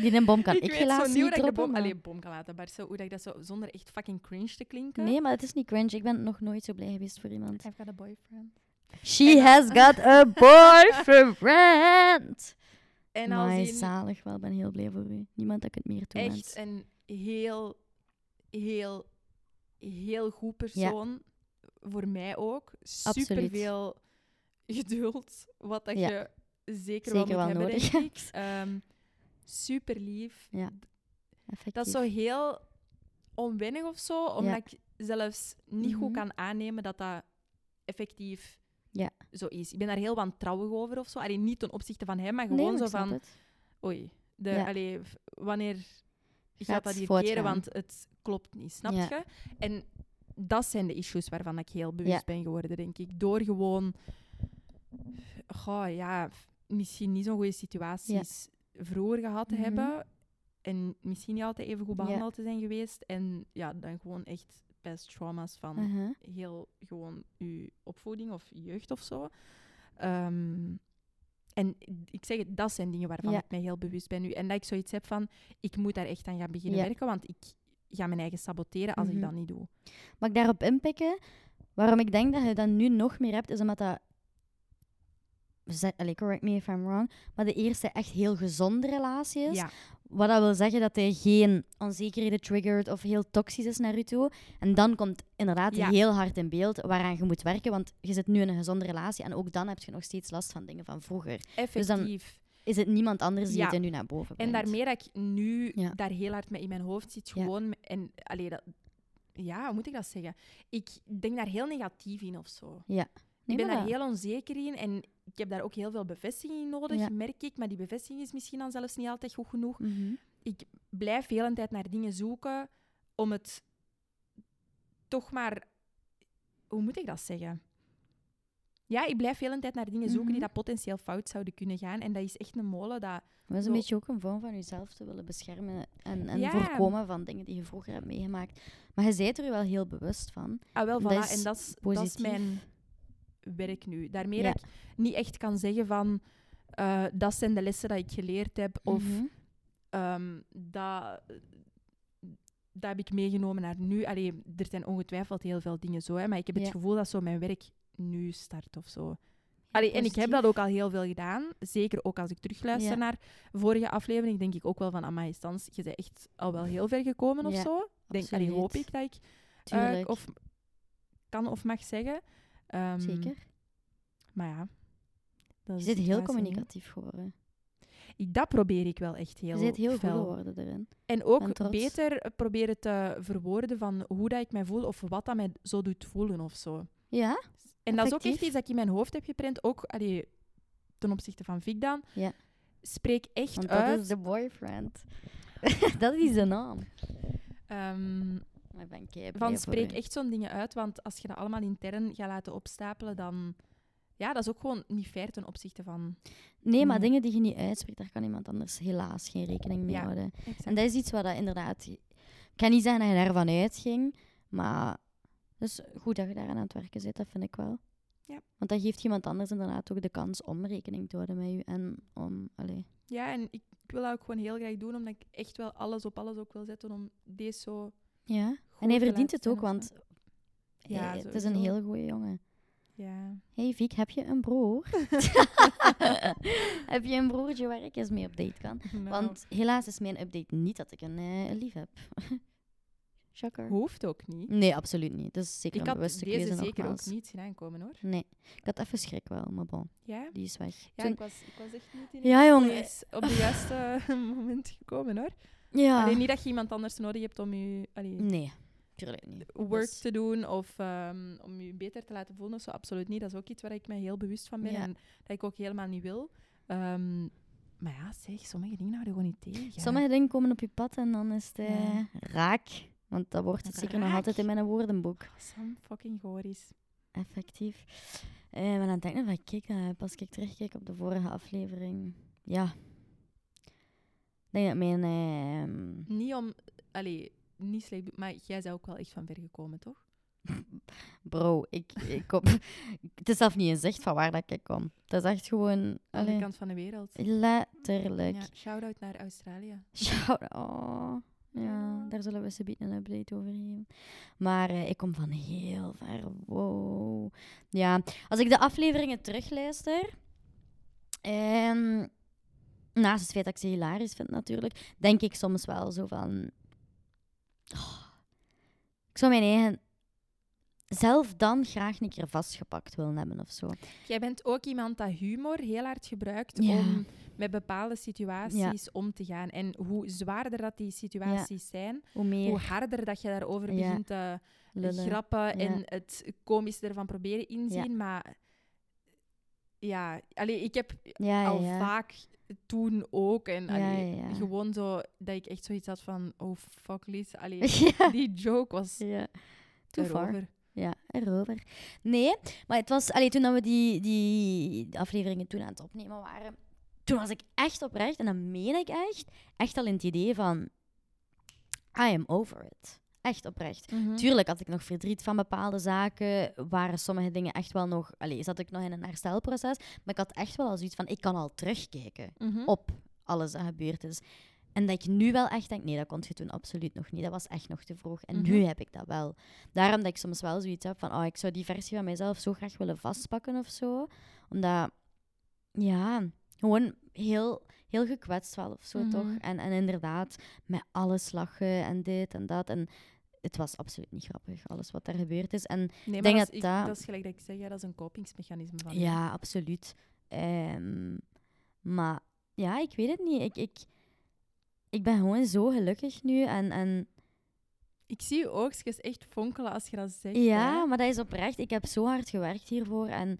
A: Die een bom kan ik,
B: weet
A: helaas
B: zo niet hoe
A: niet
B: dat ik de
A: droppen.
B: bom,
A: maar-
B: allee, bom kan laten, maar zo, hoe dat ik dat zo zonder echt fucking cringe te klinken.
A: Nee, maar het is niet cringe. Ik ben nog nooit zo blij geweest voor iemand.
B: I've got a boyfriend.
A: She has got a boyfriend!
B: En als
A: Mooi,
B: in
A: zalig wel. Ik ben heel blij voor u. Niemand dat ik het meer toe
B: echt een heel, heel, heel goed persoon. Voor mij ook.
A: Absoluut.
B: Super veel geduld, wat dat
A: Ja.
B: je zeker,
A: Zeker
B: wel moet
A: wel
B: hebben,
A: nodig.
B: denk ik. Ehm, super lief.
A: Ja. Effectief.
B: Dat is zo heel onwennig of zo, omdat ik zelfs niet
A: Mhm.
B: goed kan aannemen dat dat effectief
A: Ja.
B: zo is. Ik ben daar heel wantrouwig over of zo. Allee, niet ten opzichte van hem, maar
A: Nee,
B: gewoon
A: maar
B: zo
A: ik snap
B: van...
A: het.
B: Oei, de,
A: Ja.
B: allee, v- wanneer gaat,
A: Gaat
B: dat hier keren?
A: voortgaan.
B: Want het klopt niet, snap
A: Ja.
B: je? En dat zijn de issues waarvan ik heel bewust
A: Ja.
B: ben geworden, denk ik. Door gewoon... Goh, ja, f- misschien niet zo'n goede situaties vroeger gehad te
A: Mhm.
B: hebben. En misschien niet altijd even goed
A: Ja.
B: behandeld te zijn geweest. En ja, dan gewoon echt best trauma's van
A: Uh-huh.
B: heel gewoon uw opvoeding of jeugd of zo. Ehm, en ik zeg het, dat zijn dingen waarvan
A: Ja.
B: ik mij heel bewust ben nu. En dat ik zoiets heb van, ik moet daar echt aan gaan beginnen
A: Ja.
B: werken, want ik ga mijn eigen saboteren als
A: Mhm.
B: ik dat niet doe.
A: Mag ik daarop inpikken? Waarom ik denk dat je dat nu nog meer hebt, is omdat dat... Zeg- allee, correct me if I'm wrong. Maar de eerste echt heel gezonde relatie is.
B: Ja,
A: Wat dat wil zeggen dat hij geen onzekerheden triggert of heel toxisch is naar u toe. En dan komt inderdaad
B: Ja.
A: heel hard in beeld waaraan je moet werken. Want je zit nu in een gezonde relatie en ook dan heb je nog steeds last van dingen van vroeger.
B: effectief.
A: Is het niemand anders die
B: Ja.
A: het er nu naar boven
B: en
A: brengt?
B: daarmee dat ik nu
A: Ja.
B: daar heel hard mee in mijn hoofd zit,
A: Ja.
B: gewoon... m- En, allee, dat, ja, hoe moet ik dat zeggen? Ik denk daar heel negatief in of zo.
A: Nee,
B: ik ben
A: maar
B: daar
A: dat-
B: heel onzeker in en ik heb daar ook heel veel bevestiging in nodig,
A: Ja.
B: merk ik. Maar die bevestiging is misschien dan zelfs niet altijd goed genoeg.
A: Mhm.
B: Ik blijf heel een tijd naar dingen zoeken om het toch maar... Hoe moet ik dat zeggen? Ja, ik blijf heel een tijd naar dingen zoeken die
A: Mhm.
B: dat potentieel fout zouden kunnen gaan. En dat is echt een molen dat...
A: Maar dat is
B: Zo-
A: een beetje ook een vorm van jezelf te willen beschermen en, en
B: Ja.
A: voorkomen van dingen die je vroeger hebt meegemaakt. Maar je bent er je wel heel bewust van.
B: Ah, wel,
A: Dat
B: voilà.
A: is
B: en dat is, dat is
A: positief.
B: mijn werk nu. Daarmee
A: Ja.
B: dat ik niet echt kan zeggen van... eh, dat zijn de lessen die ik geleerd heb. Of
A: Mhm.
B: ehm dat, dat heb ik meegenomen naar nu. Allee, er zijn ongetwijfeld heel veel dingen zo, hè, maar ik heb
A: Ja.
B: het gevoel dat zo mijn werk nu start of zo. Allee, en ik heb dat ook al heel veel gedaan. Zeker ook als ik terugluister
A: Ja.
B: naar vorige aflevering, denk ik ook wel van, amai, Stans, je bent echt al wel heel ver gekomen of
A: Ja,
B: zo. Denk, allee,
A: absoluut.
B: hoop ik dat ik eh,
A: Tuurlijk.
B: of kan of mag zeggen. Ehm,
A: Zeker.
B: Maar ja.
A: Je
B: dat is
A: zit
B: de
A: heel
B: situatie nu.
A: communicatief geworden.
B: Ik- Dat probeer ik wel echt heel
A: je zit heel goed
B: fel.
A: geworden erin.
B: En
A: ben
B: ook
A: trots.
B: beter proberen te verwoorden van hoe dat ik mij voel of wat dat mij zo doet voelen of zo. En
A: Ja?
B: dat is ook echt
A: Effectief.
B: iets dat ik in mijn hoofd heb geprint, ook allee, ten opzichte van Vic dan.
A: Ja.
B: Spreek echt
A: Want dat
B: uit.
A: is de boyfriend. dat is de naam.
B: ehm,
A: Maar ik ben kei blij
B: van
A: voor
B: spreek
A: u.
B: echt zo'n dingen uit, want als je dat allemaal intern gaat laten opstapelen, dan... Ja, dat is ook gewoon niet fair ten opzichte van...
A: Nee, maar
B: Ja.
A: dingen die je niet uitspreekt, daar kan iemand anders helaas geen rekening mee
B: Mhm. Ja.
A: houden. En dat is iets wat dat inderdaad... Ik kan niet zeggen dat je daarvan uitging, maar... Dus goed dat je daaraan aan het werken zit, dat vind ik wel.
B: Ja.
A: Want dat geeft iemand anders inderdaad ook de kans om rekening te houden met je en om... Allee.
B: Ja, en ik, ik wil dat ook gewoon heel graag doen, omdat ik echt wel alles op alles ook wil zetten om deze zo...
A: Ja.
B: goed
A: en hij
B: te
A: verdient het
B: laten
A: ook,
B: zijn of
A: want
B: zo. Ja,
A: hij- het is een
B: sowieso.
A: heel goede jongen.
B: Ja.
A: hey, Viek, heb je een broer? heb je een broertje waar ik eens mee op date kan?
B: Nou.
A: Want helaas is mijn update niet dat ik een eh, lief heb. Shocker.
B: Hoeft ook niet.
A: Nee, absoluut niet. Dat is zeker een
B: ik had
A: bewuste
B: deze
A: keuze
B: zeker
A: nogmaals.
B: ook niet zien aankomen, hoor.
A: Nee, ik had even schrik wel, maar bon,
B: Ja?
A: die is weg.
B: Ja,
A: Toen-
B: ik was, ik was echt niet in
A: Ja, jong. eh,
B: Yes, op het juiste moment gekomen, hoor.
A: ja.
B: Alleen niet dat je iemand anders nodig hebt om je allee,
A: Ah. Nee, tuurlijk niet.
B: work
A: Dus-
B: te doen of ehm, om je beter te laten voelen of zo. Absoluut niet. Dat is ook iets waar ik me heel bewust van ben
A: Ja.
B: en dat ik ook helemaal niet wil. Ehm, maar ja, zeg, sommige dingen houden gewoon niet tegen.
A: Sommige dingen komen op je pad en dan is het eh,
B: Ja.
A: raak. Want dat wordt het zeker nog
B: Raak.
A: altijd in mijn woordenboek.
B: Sam fucking Goris.
A: Effectief. Eh maar dan denk ik van, kijk, eh, pas ik terugkijk op de vorige aflevering. Ja. Ik denk dat mijn... ehm,
B: Niet om... Allee, niet slecht... bedo- Maar jij bent ook wel echt van ver gekomen, toch?
A: bro, ik, ik kom... het is zelf niet eens echt van waar dat ik kom. Het is echt gewoon...
B: Aan de
A: allee,
B: kant van de wereld.
A: letterlijk.
B: Ja, shout-out naar Australië.
A: Shout Oh, ja,
B: Ja.
A: daar zullen we ze bieden een update over geven. Maar eh, ik kom van heel ver. Wow. Ja, als ik de afleveringen terugluister. ehm, naast het feit dat ik ze hilarisch vind, natuurlijk. Denk ik soms wel zo van. "Oh, ik zou mijn eigen. zelf dan graag een keer vastgepakt willen hebben of zo.
B: Jij bent ook iemand dat humor heel hard gebruikt
A: Ja.
B: om met bepaalde situaties om te gaan. En hoe zwaarder dat die situaties zijn,
A: Hoe meer
B: hoe harder dat je daarover
A: Ja.
B: begint te
A: lullen.
B: grappen en
A: Ja.
B: het komische ervan proberen inzien. Maar ja, allee, ik heb
A: ja, ja,
B: al
A: Ah, ja.
B: vaak toen ook. En
A: Ja,
B: allee,
A: ja, ja.
B: gewoon zo dat ik echt zoiets had van, oh fuck Lies, allee,
A: ja.
B: die joke was
A: ja. Too far.
B: erover.
A: Ja, erover. Nee, maar het was... Allee, toen dat we die, die afleveringen toen aan het opnemen waren... Toen was ik echt oprecht, en dat meen ik echt, echt al in het idee van... I am over it. Echt oprecht.
B: Mhm.
A: Tuurlijk had ik nog verdriet van bepaalde zaken. Waren sommige dingen echt wel nog... Allee, zat ik nog in een herstelproces. Maar ik had echt wel al zoiets van, ik kan al terugkijken
B: Mhm.
A: op alles dat gebeurd is. En dat ik nu wel echt denk, nee, dat kon je toen absoluut nog niet. Dat was echt nog te vroeg. En nu
B: Mhm.
A: heb ik dat wel. Daarom dat ik soms wel zoiets heb van, oh, ik zou die versie van mijzelf zo graag willen vastpakken of zo. Omdat, ja, gewoon heel, heel gekwetst wel of zo,
B: Mhm.
A: toch? En, en inderdaad, met alles lachen en dit en dat. En het was absoluut niet grappig, alles wat daar gebeurd is. En
B: Nee, maar
A: denk
B: dat,
A: dat
B: is, ik-
A: dat-
B: dat is gelijk dat ik zeg, ja, dat is een kopingsmechanisme van u.
A: ja, absoluut. Ehm, maar ja, ik weet het niet. Ik, ik, ik ben gewoon zo gelukkig nu. En, en
B: Ik zie je oogstjes echt fonkelen als je dat zegt.
A: ja,
B: hè.
A: maar dat is oprecht. Ik heb zo hard gewerkt hiervoor. En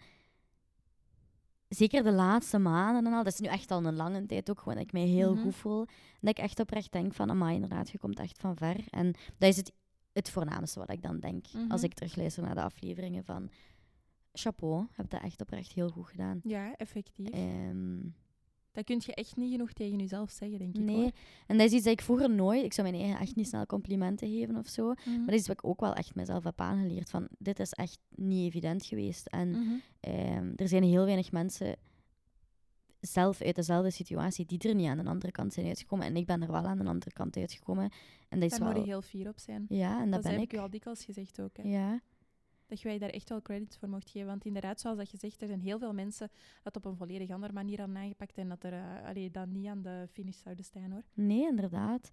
A: zeker de laatste maanden en al. Dat is nu echt al een lange tijd ook gewoon dat ik mij heel
B: Mhm.
A: goed voel. Dat ik echt oprecht denk van, amai, inderdaad, je komt echt van ver. En dat is het, het voornaamste wat ik dan denk.
B: Mhm.
A: Als ik terugluister naar de afleveringen van... Chapeau, heb dat echt oprecht heel goed gedaan.
B: Ja, effectief.
A: Ehm,
B: Dat kun je echt niet genoeg tegen jezelf zeggen, denk ik.
A: Nee,
B: hoor.
A: en dat is iets dat ik vroeger nooit... Ik zou mijn eigen echt niet snel complimenten geven of zo. Maar
B: Mhm.
A: dat is iets wat ik ook wel echt mezelf heb aangeleerd. Van, dit is echt niet evident geweest. En
B: Mhm.
A: ehm, er zijn heel weinig mensen zelf uit dezelfde situatie die er niet aan de andere kant zijn uitgekomen. En ik ben er wel aan de andere kant uitgekomen. En dat is
B: Daar moet je
A: wel...
B: heel fier op zijn.
A: Ja, en dat,
B: dat
A: ben
B: heb
A: ik.
B: ik u al dikwijls gezegd ook. Hè.
A: Ja,
B: Dat je wij daar echt wel credits voor mocht geven. Want inderdaad, zoals dat je zegt, er zijn heel veel mensen dat op een volledig andere manier aan aangepakt en dat er eh, allee, dan niet aan de finish zouden staan hoor.
A: nee, inderdaad.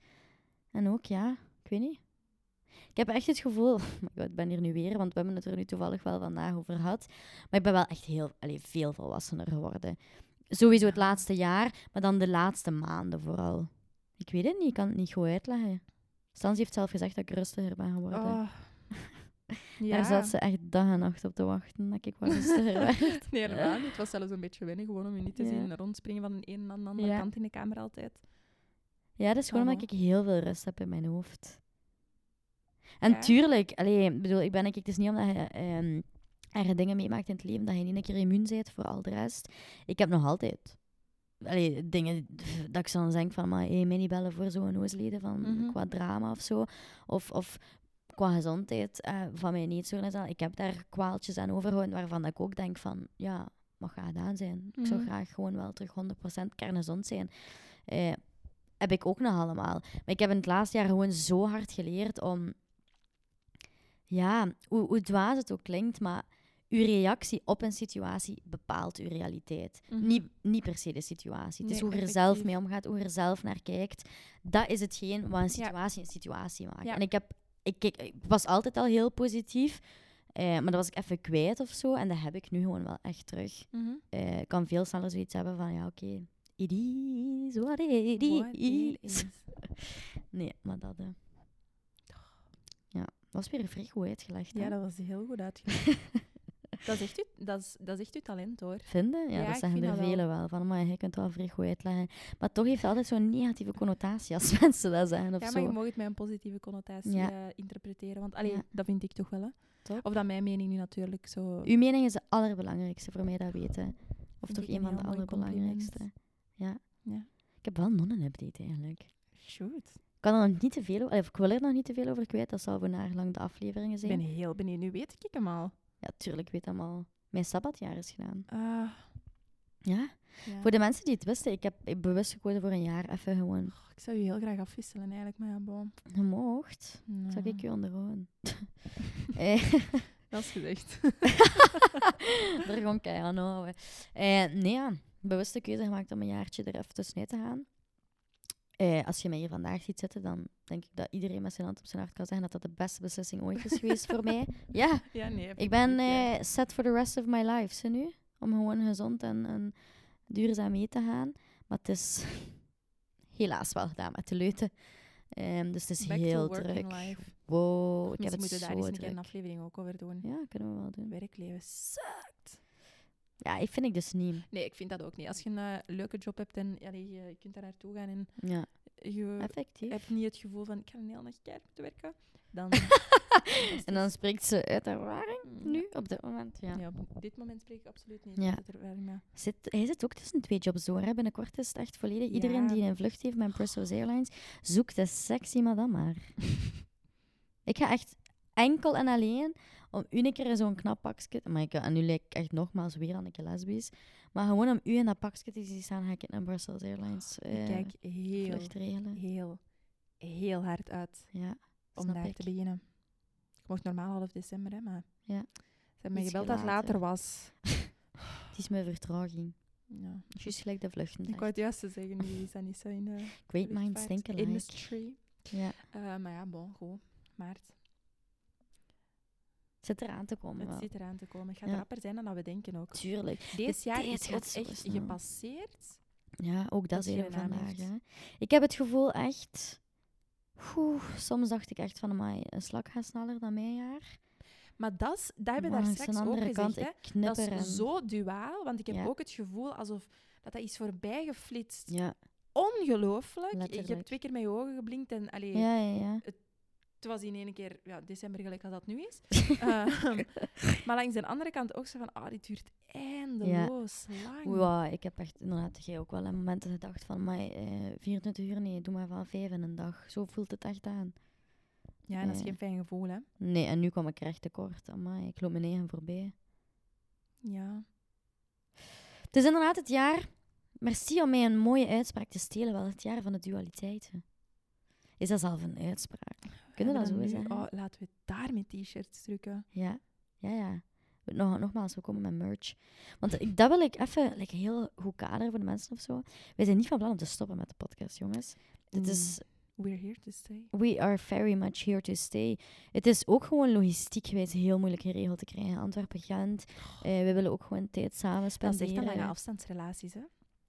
A: En ook, ja, ik weet niet. Ik heb echt het gevoel... Oh my god, ik ben hier nu weer, want we hebben het er nu toevallig wel vandaag over gehad. Maar ik ben wel echt heel, allee, veel volwassener geworden. Sowieso het laatste jaar, maar dan de laatste maanden vooral. Ik weet het niet, ik kan het niet goed uitleggen. Stans heeft zelf gezegd dat ik rustiger ben geworden.
B: Oh.
A: Daar zat ze echt dag en nacht op te wachten, dat ik wat rustiger werd.
B: Nee, helemaal niet. Het was zelfs een beetje wennen, gewoon om je niet te
A: Ja.
B: zien rondspringen van de een naar de andere
A: Ja.
B: kant in de camera altijd.
A: Ja, dat is gewoon
B: Ah,
A: omdat ik heel veel rust heb in mijn hoofd. En
B: Ja.
A: tuurlijk, allee, ik bedoel, ik ben, ik, het is niet omdat je ehm erge dingen meemaakt in het leven dat je niet een keer immuun bent voor al de rest. Ik heb nog altijd allee, dingen pff, dat ik soms denk van, maar hey, mij niet bellen voor zo'n oosleden van
B: Mhm.
A: qua drama of zo. Of, of qua gezondheid eh, van mij niet zo. net al. Ik heb daar kwaaltjes aan overgehouden waarvan dat ik ook denk van, ja, mag gaan gedaan zijn. Ik zou
B: Mhm.
A: graag gewoon wel terug 100% kerngezond zijn. Eh, heb ik ook nog allemaal. Maar ik heb in het laatste jaar gewoon zo hard geleerd om... Ja, hoe, hoe dwaas het ook klinkt, maar uw reactie op een situatie bepaalt uw realiteit.
B: Mhm.
A: niet, niet per se de situatie. Het is
B: Nee,
A: hoe je er zelf
B: effectief.
A: mee omgaat, hoe je er zelf naar kijkt. Dat is hetgeen wat een
B: Ja.
A: situatie een situatie maakt.
B: Ja.
A: En ik heb, ik, keek- ik was altijd al heel positief. eh, maar dat was ik even kwijt of zo. En dat heb ik nu gewoon wel echt terug.
B: Mhm.
A: Eh, ik kan veel sneller zoiets hebben van, ja, oké. it is what it is.
B: What it is.
A: Nee, maar dat... eh. ja, was weer vrij goed uitgelegd.
B: Ja,
A: hè?
B: dat was heel goed uitgelegd. dat, is echt uw, dat, is, dat is echt uw talent, hoor.
A: Vinden? Ja,
B: Ja,
A: dat
B: ik
A: zeggen
B: vind
A: er
B: dat wel.
A: velen wel. Van, maar je kunt wel vrij goed uitleggen. Maar toch heeft het altijd zo'n negatieve connotatie als mensen dat zeggen of
B: Ja,
A: zo.
B: maar je mag het met een positieve connotatie
A: Ja.
B: eh, interpreteren. Want allee,
A: Ja.
B: dat vind ik toch wel, hè.
A: Toch?
B: Of dat mijn mening nu natuurlijk zo...
A: Uw mening is de allerbelangrijkste voor mij, dat weten. Of
B: Vind
A: toch
B: ik
A: een
B: een
A: van de
B: heel mooi
A: allerbelangrijkste. Ja.
B: Ja.
A: Ik heb wel nog een update eigenlijk.
B: Shoot.
A: Ik kan er nog niet te veel over... of Ik wil er nog niet te veel over kwijt. Dat zal voor naar lang de afleveringen
B: Ik
A: zijn.
B: ben heel benieuwd. Nu weet ik hem al.
A: Ja, tuurlijk ik weet dat al. Mijn sabbatjaar is gedaan.
B: Ah,
A: Ja.
B: ja.
A: Voor de mensen die het wisten, ik heb ik bewust gekozen voor een jaar even gewoon
B: Goh, ik zou je heel graag afwisselen, eigenlijk. Maar ja, bon.
A: gemocht.
B: Ja.
A: Zal ik je onderhouden? Eh.
B: Dat is gezegd.
A: er gewoon keihard aan houden. Eh, nee, ja. Bewuste keuze gemaakt om een jaartje er even tussenuit te gaan. Eh, als je mij hier vandaag ziet zitten, dan denk ik dat iedereen met zijn hand op zijn hart kan zeggen dat dat de beste beslissing ooit is geweest voor mij. Ja,
B: Ja, nee.
A: ik ben
B: effectief, ja.
A: eh, set for the rest of my life, zie nu. Om gewoon gezond en, en duurzaam mee te gaan. Maar het is helaas wel gedaan met de leuten. Ehm, dus het is
B: Back to
A: heel
B: working
A: druk.
B: life.
A: Wow, ik heb
B: Misschien
A: het
B: moeten we
A: zo
B: daar eens een keer
A: druk.
B: een aflevering ook over doen.
A: Ja, kunnen we wel doen.
B: Werkleven sukt.
A: Ja, ik vind ik dus niet.
B: Nee, ik vind dat ook niet. Als je een eh, leuke job hebt en ja, die, je, je kunt daar naartoe gaan en
A: Ja,
B: je
A: effectief.
B: hebt niet het gevoel van ik ga een hele nacht keihard moeten werken, dan...
A: En dan spreekt ze uit ervaring
B: Mm,
A: nu, op dit moment. Ja.
B: Ja. Ja, op dit moment spreek ik absoluut niet.
A: Ja.
B: uit ervaring, maar-
A: Zit, hij zit ook tussen twee jobs door. Hè. Binnenkort is het echt volledig. Iedereen
B: Ja.
A: die een vlucht heeft met Brussels Airlines, zoekt de sexy madame maar. ik ga echt enkel en alleen om u een keer in zo'n knap pakje... Maar ik, en nu lijk ik echt nogmaals weer aan een keer lesbisch. Maar gewoon om u in dat pakje te zien staan, ga ik naar Brussels Airlines
B: Ik
A: eh,
B: kijk heel,
A: vlucht regelen.
B: heel, heel hard uit
A: Ja,
B: om
A: snap
B: daar
A: ik.
B: te beginnen. Ik mocht normaal half december, hè, maar...
A: Ja.
B: Ze hebben me
A: Iets
B: gebeld dat het
A: later.
B: later was.
A: Het is mijn vertraging.
B: Ja.
A: Juist gelijk de vluchten.
B: Ik wou het juist te zeggen, die is dat niet zo in de...
A: Great minds
B: Luchtvaart
A: think alike.
B: Industry.
A: Ja.
B: Eh, maar ja, bon, goed. Maart.
A: Het zit eraan te komen.
B: Het
A: wel.
B: zit eraan te komen. Het gaat
A: Ja.
B: rapper zijn dan dat we denken ook.
A: Tuurlijk.
B: Dit jaar
A: tijd
B: is
A: gaat
B: ook
A: zo
B: echt
A: snel.
B: gepasseerd.
A: Ja, ook dat
B: Dat je
A: zeiden we
B: een naam
A: vandaag.
B: heeft.
A: Hè. Ik heb het gevoel echt... Oeh, soms dacht ik echt van, amai, een slak gaat sneller dan mijn jaar.
B: Maar dat, is- dat hebben we
A: Maar
B: daar
A: langs de
B: straks ook
A: andere
B: gezegd.
A: kant,
B: hè.
A: ik knipper
B: Dat is
A: en-
B: zo duaal, want ik heb
A: Ja.
B: ook het gevoel alsof dat, dat is voorbij geflitst.
A: Ja,
B: Ongelooflijk. Ik heb
A: Letterlijk.
B: twee keer mijn ogen geblinkt en allee,
A: ja, ja. ja.
B: het was in één keer ja, december gelijk als dat nu is. Ehm, maar langs de andere kant ook zo van, ah, dit duurt eindeloos lang.
A: Wow, ik heb echt, inderdaad, jij ook wel aan momenten gedacht van, maar 24 uur, nee, doe maar van vijf in een dag. Zo voelt het echt aan.
B: Ja, en dat is
A: Ja.
B: geen fijn gevoel, hè.
A: Nee, en nu kwam ik er echt tekort. Amai, ik loop mijn eigen voorbij.
B: Ja.
A: Het is inderdaad het jaar. Merci om mij een mooie uitspraak te stelen. Wel het jaar van de dualiteiten. Is dat zelf een uitspraak? Kunnen we dat
B: Hebben
A: zo
B: we
A: zeggen?
B: Oh, laten we daar met t-shirts drukken.
A: Ja, ja, ja. Nog, nogmaals, we komen met merch. Want ik, dat wil ik even like, heel goed kaderen voor de mensen of zo. Wij zijn niet van plan om te stoppen met de podcast, jongens. Dit
B: Mm.
A: is,
B: We're here to stay.
A: we are very much here to stay. Het is ook gewoon logistiek geweest heel moeilijk geregeld te krijgen. Antwerpen, Gent. Eh, we willen ook gewoon tijd samen
B: Dat is echt
A: spenderen.
B: een lange afstandsrelaties, hè.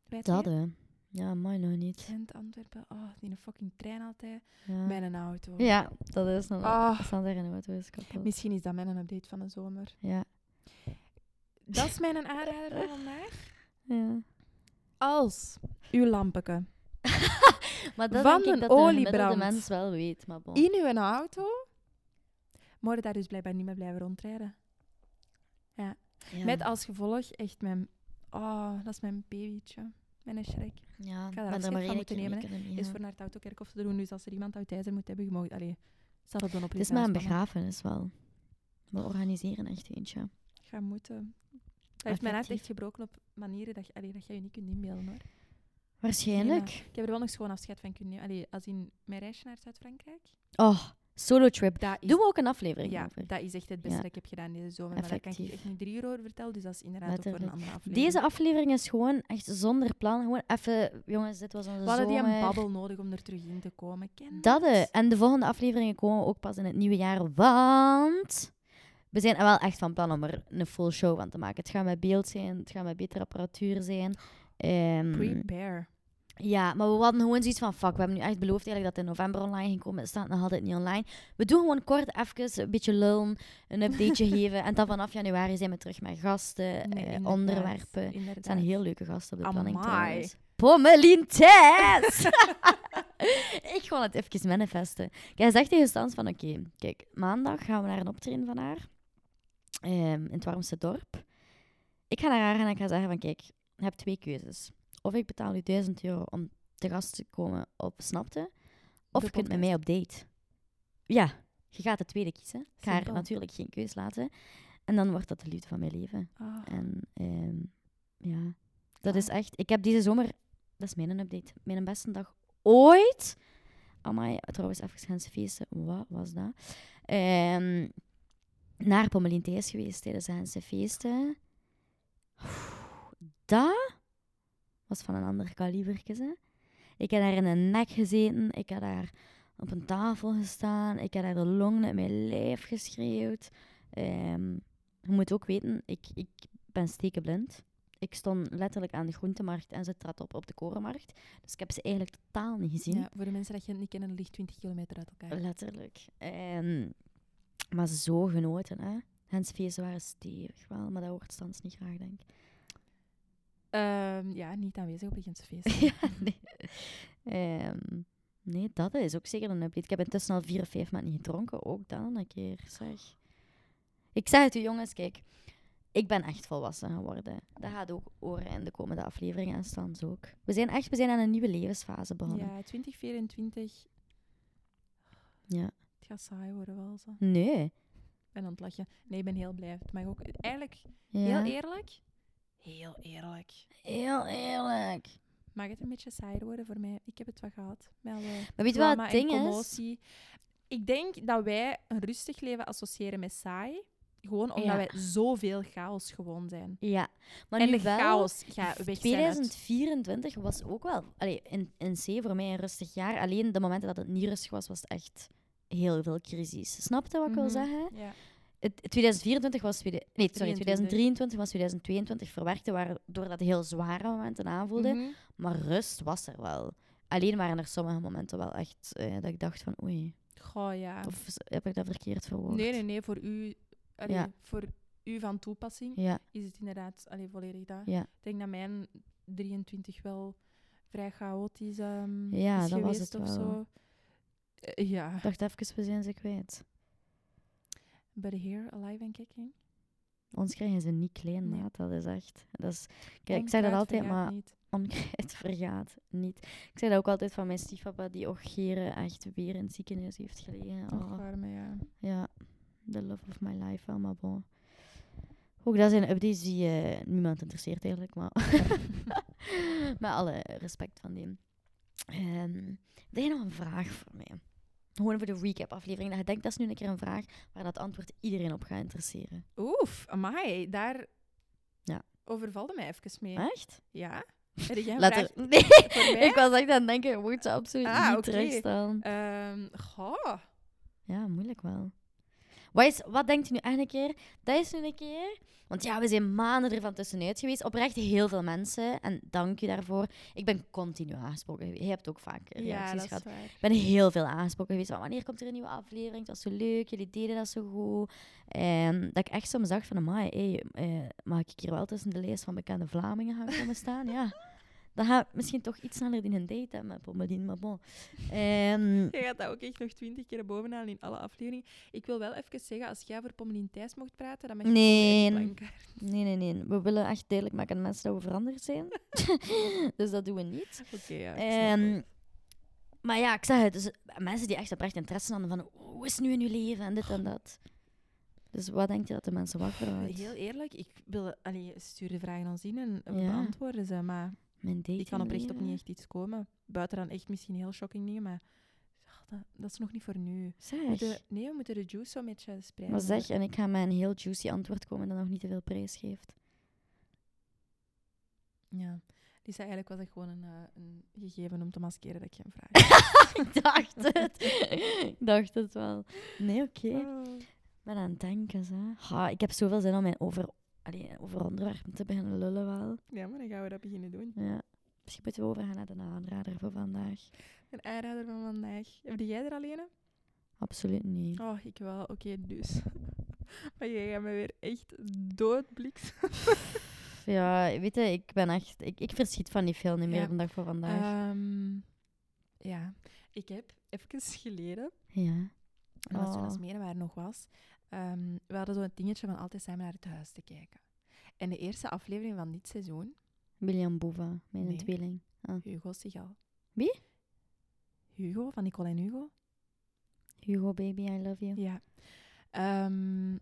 B: Wij
A: Dat,
B: twee.
A: hè. Ja, mooi nog niet.
B: Gent, Antwerpen. Oh, die een fucking trein altijd.
A: Ja,
B: Met een auto.
A: ja dat is nog
B: Ah.
A: Dat staat er in de auto is kapot.
B: Misschien is dat mijn update van de zomer.
A: Ja.
B: Dat is mijn aanrader van vandaag.
A: ja.
B: Als uw lampeke
A: Maar dat
B: Van
A: denk
B: een
A: ik dat de gemiddelde
B: oliebrand.
A: mens wel weet. Maar bon.
B: in uw auto, moet je daar dus blijkbaar niet meer blijven rondrijden.
A: Ja.
B: Met als gevolg echt mijn... Oh, dat is mijn babytje. Mijn schrik.
A: Ja,
B: Ik ga daar
A: maar dan
B: afscheid
A: maar
B: van
A: één
B: moeten
A: keer mee
B: nemen,
A: kunnen
B: Is
A: meegaan.
B: voor naar het autokerkhof te doen. Dus als er iemand uit IJzer moet hebben, je mag... Allee, staat op de
A: Het is maar een begrafenis wel. We organiseren echt eentje.
B: Ga moeten. Dat heeft mijn hart
A: Effectief.
B: echt gebroken op manieren dat, je- allee, dat je je niet kunt inbeelden. Hoor.
A: Waarschijnlijk.
B: Ik heb er wel nog schoon afscheid van kunnen nemen. Allee, als in mijn reisje naar Zuid-Frankrijk.
A: Oh, Solo trip.
B: Dat is,
A: Doen we ook een aflevering
B: ja,
A: over.
B: dat is echt het beste
A: Ja.
B: dat ik heb gedaan deze zomer. Maar daar kan ik je
A: Effectief.
B: echt niet drie uur over vertellen, dus dat is inderdaad ook voor een
A: Letterlijk.
B: andere aflevering.
A: Deze aflevering is gewoon echt zonder plan. Gewoon even, jongens, dit was onze
B: We hadden die
A: zomer.
B: een babbel nodig om er terug in te komen. Ken
A: Dat eh, En de volgende afleveringen komen ook pas in het nieuwe jaar, want we zijn wel echt van plan om er een full show van te maken. Het gaat met beeld zijn, het gaat met betere apparatuur zijn. Ehm,
B: Prepare.
A: ja, maar we hadden gewoon zoiets van, fuck, we hebben nu echt beloofd eigenlijk dat het in november online ging komen. Het staat nog altijd niet online. We doen gewoon kort even een beetje lullen, een updateje geven. En dan vanaf januari zijn we terug met gasten,
B: Nee,
A: eh,
B: inderdaad,
A: onderwerpen.
B: inderdaad.
A: Het zijn heel leuke gasten op de planning
B: Amai.
A: trouwens. Pommelien Thijs! ik ga het even manifesten. Jij zegt tegen Stans van, oké, kijk, maandag gaan we naar een optreden van haar. ehm, in het warmste dorp. Ik ga naar haar en ik ga zeggen van, kijk, je hebt twee keuzes. Of ik betaal u 1000 euro om te gast te komen op Snapte. Of
B: De
A: je kunt met
B: podcast.
A: mij op date. Ja, je gaat de tweede kiezen. Ik ga haar
B: Simpel.
A: natuurlijk geen keus laten. En dan wordt dat de liefde van mijn leven.
B: Ah,
A: En ehm, ja, dat is
B: Ah.
A: echt... Ik heb deze zomer... Dat is mijn update. Mijn beste dag ooit. Amai, trouwens, even Gentse feesten. Wat was dat? Ehm, naar Pommelien Thees geweest tijdens de Gentse feesten. Oeh, Dat was van een ander kalibertje, hè. Ik heb daar in een nek gezeten. Ik heb daar op een tafel gestaan. Ik heb daar de longen uit mijn lijf geschreeuwd. Ehm, je moet ook weten, ik, ik ben stekenblind. Ik stond letterlijk aan de groentemarkt en ze trad op op de korenmarkt. Dus ik heb ze eigenlijk totaal niet gezien.
B: ja, voor de mensen die het niet kennen, ligt 20 kilometer uit elkaar.
A: Letterlijk. En, maar zo genoten, hè. Hens feesten waren stevig wel, maar dat hoort Stans niet graag, denk ik.
B: Ehm, ja, niet aanwezig op een Gentse feest.
A: ja, nee. Ehm, nee, dat is ook zeker een update. Ik heb intussen al vier of vijf maanden niet gedronken. Ook dan een keer, zeg. Ik zeg het u, jongens, kijk. Ik ben echt volwassen geworden. Dat gaat ook horen in de komende afleveringen en Stans ook. We zijn echt we zijn aan een nieuwe levensfase begonnen.
B: Ja, 2024.
A: Ja.
B: Het gaat saai worden wel zo.
A: Nee.
B: Ik ben aan het lachen. Nee, ik ben heel blij. Het mag ook... Eigenlijk,
A: Ja.
B: heel eerlijk. Heel eerlijk.
A: Heel eerlijk.
B: Mag het een beetje saai worden voor mij? Ik heb het wel gehad. Met alle
A: Maar weet je wat
B: drama
A: het
B: en
A: ding is?
B: commotie. Ik denk dat wij een rustig leven associëren met saai. Gewoon omdat
A: Ja.
B: wij zoveel chaos gewoon zijn.
A: Ja, maar
B: en
A: nu
B: de
A: wel,
B: chaos gaat weg zijn uit-
A: 2024 was ook wel, allee, in, in C voor mij een rustig jaar. Alleen de momenten dat het niet rustig was, was het echt heel veel crisis. Snap je wat ik
B: Mhm.
A: wil zeggen?
B: Ja.
A: Het, 2024 was, tweede- nee, sorry,
B: 23.
A: 2023 was 2022 verwerkte, waardoor dat heel zware momenten aanvoelden.
B: Mhm.
A: Maar rust was er wel. Alleen waren er sommige momenten wel echt eh, dat ik dacht van oei,
B: Goh, ja.
A: of s- heb ik dat verkeerd verwoord?
B: Ah. Nee, nee, nee. Voor u, allee,
A: Ja.
B: voor u van toepassing
A: Ja,
B: is het inderdaad allee, volledig dat.
A: Ja.
B: Ik denk dat mijn 23 wel vrij chaotisch ehm,
A: Ja,
B: is
A: dat was
B: geweest
A: het
B: of
A: wel.
B: zo. Eh, ja,
A: ik dacht even, we zijn ze kwijt.
B: but here, alive and kicking.
A: Ons krijgen ze niet klein,
B: Nee.
A: maat. Dat is echt... Dat is, kijk, ik zeg dat
B: Onkruid
A: altijd,
B: vergaat
A: maar
B: niet.
A: onkruid vergaat niet. Ik zei dat ook altijd van mijn stiefpapa, die Ogeren echt weer in het ziekenhuis heeft gelegen.
B: Och,
A: Oh,
B: arme, ja.
A: ja, the love of my life wel, maar bon. Ook dat zijn updates die eh, niemand interesseert eigenlijk, maar met alle respect van die. Ehm heb je nog een vraag voor mij? Gewoon voor de recap-aflevering. Dat je denkt, dat is nu een keer een vraag waar dat antwoord iedereen op gaat interesseren.
B: Oef, amai, daar
A: Ja.
B: overvalde mij even mee.
A: Echt?
B: Ja? Heb jij een
A: Later.
B: vraag
A: Nee,
B: voor mij?
A: ik was echt aan het denken, je moet ze absoluut
B: Ah,
A: niet
B: oké.
A: terugstaan.
B: Ehm, goh.
A: Ja, moeilijk wel. Wat, is, wat denkt u nu echt een keer? Dat is nu een keer. Want ja, we zijn maanden ervan tussenuit geweest. Oprecht heel veel mensen. En dank u daarvoor. Ik ben continu aangesproken geweest. Je hebt ook vaak
B: Ja,
A: reacties
B: dat is
A: gehad.
B: waar.
A: Ik ben heel veel aangesproken geweest. Van, wanneer komt er een nieuwe aflevering? Het was zo leuk. Jullie deden dat zo goed. En dat ik echt soms dacht van... Amai, hey, eh, mag ik hier wel tussen de lijst van bekende Vlamingen gaan komen staan? Ja. Dan ga ik misschien toch iets sneller in een date hebben met Pommelien. Maar bon. Ehm,
B: Je gaat dat ook echt nog twintig keer bovenaan in alle afleveringen. Ik wil wel even zeggen, als jij voor Pommelien Thijs mocht praten, dan mag je
A: Nee.
B: voor mij echt blank.
A: Nee, nee, nee. We willen echt duidelijk maken aan mensen dat we veranderd zijn. dus dat doen we niet.
B: Oké, ja. ik snap
A: Ehm,
B: het.
A: maar ja, ik zeg het. Dus mensen die echt oprecht interesse hadden van "Oh, hoe is het nu in uw leven en dit en dat. Dus wat denk je dat de mensen wakker houdt?
B: Heel eerlijk, ik wil... Allee, stuur de vragen ons in en we
A: Ja.
B: beantwoorden ze, maar
A: Mijn date
B: ik kan oprecht op niet
A: niet
B: echt iets komen. Buiten dan echt misschien heel shocking dingen, maar... Ah, dat, dat is nog niet voor nu.
A: Zeg.
B: We moeten- nee, we moeten de juice zo'n beetje spreiden.
A: Maar zeg, en ik ga met een heel juicy antwoord komen dat nog niet te veel prijs geeft.
B: Ja. Die zei eigenlijk was dat gewoon een, eh, een gegeven om te maskeren dat ik geen vraag heb.
A: ik dacht het. ik dacht het wel. Nee, oké.
B: Ah. Oh.
A: Ik ben aan het denken, hè. Ha, ik heb zoveel zin om mijn over, allee, over onderwerpen te beginnen lullen wel.
B: Ja, maar dan gaan we dat beginnen doen.
A: Ja. Misschien moeten we overgaan naar de aanrader voor vandaag.
B: Een aanrader van vandaag. Heb jij er alleen?
A: Absoluut niet.
B: Oh, ik wel. Oké, dus. maar jij gaat me weer echt doodbliks.
A: Ja, weet je, ik ben echt... Ik, ik verschiet van die film niet meer
B: Ja.
A: op de dag voor vandaag.
B: Ehm ja, ik heb even geleden,
A: ja.
B: dat was toen als
A: Oh.
B: Meren waar nog was, ehm, we hadden zo'n dingetje van altijd samen naar het huis te kijken. En de eerste aflevering van dit seizoen,
A: William Boeva, mijn
B: Nee.
A: tweeling.
B: Hugo Sigal.
A: Wie?
B: Hugo, van Nicole en Hugo.
A: Hugo, baby, I love you.
B: Ja. Ehm,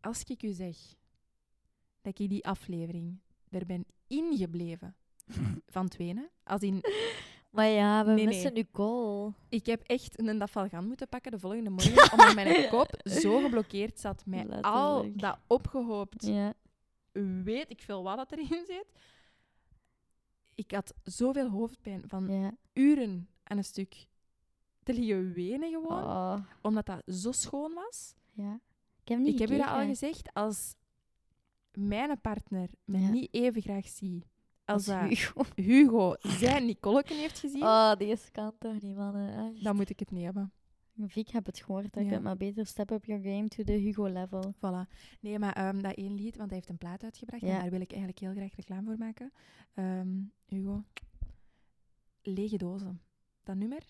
B: als ik u zeg dat ik die aflevering er ben ingebleven van Twenen, als in
A: Maar ja, we
B: Nee,
A: missen
B: nee.
A: Nicole.
B: Ik heb echt een dafalgan moeten pakken de volgende morgen, omdat mijn kop zo geblokkeerd zat met al
A: Letterlijk.
B: dat opgehoopt,
A: Ja.
B: weet ik veel wat dat erin zit. Ik had zoveel hoofdpijn van
A: Ja.
B: uren aan een stuk te liggen wenen gewoon,
A: Oh.
B: omdat dat zo schoon was.
A: Ja. Ik heb niet
B: ik heb u dat
A: gekeken.
B: al gezegd, als mijn partner me
A: Ja.
B: niet even graag ziet als dat
A: Hugo.
B: Hugo zijn Nicoleken heeft gezien,
A: Oh, deze kan toch niet, mannen.
B: dan moet ik het niet hebben.
A: Vic heb het gehoord, dat
B: Ja.
A: je het maar beter step up your game to the Hugo level.
B: Voilà. Nee, maar ehm, dat één lied, want hij heeft een plaat uitgebracht en
A: Ja.
B: daar wil ik eigenlijk heel graag reclame voor maken. Ehm, Hugo, Lege Dozen. Dat nummer?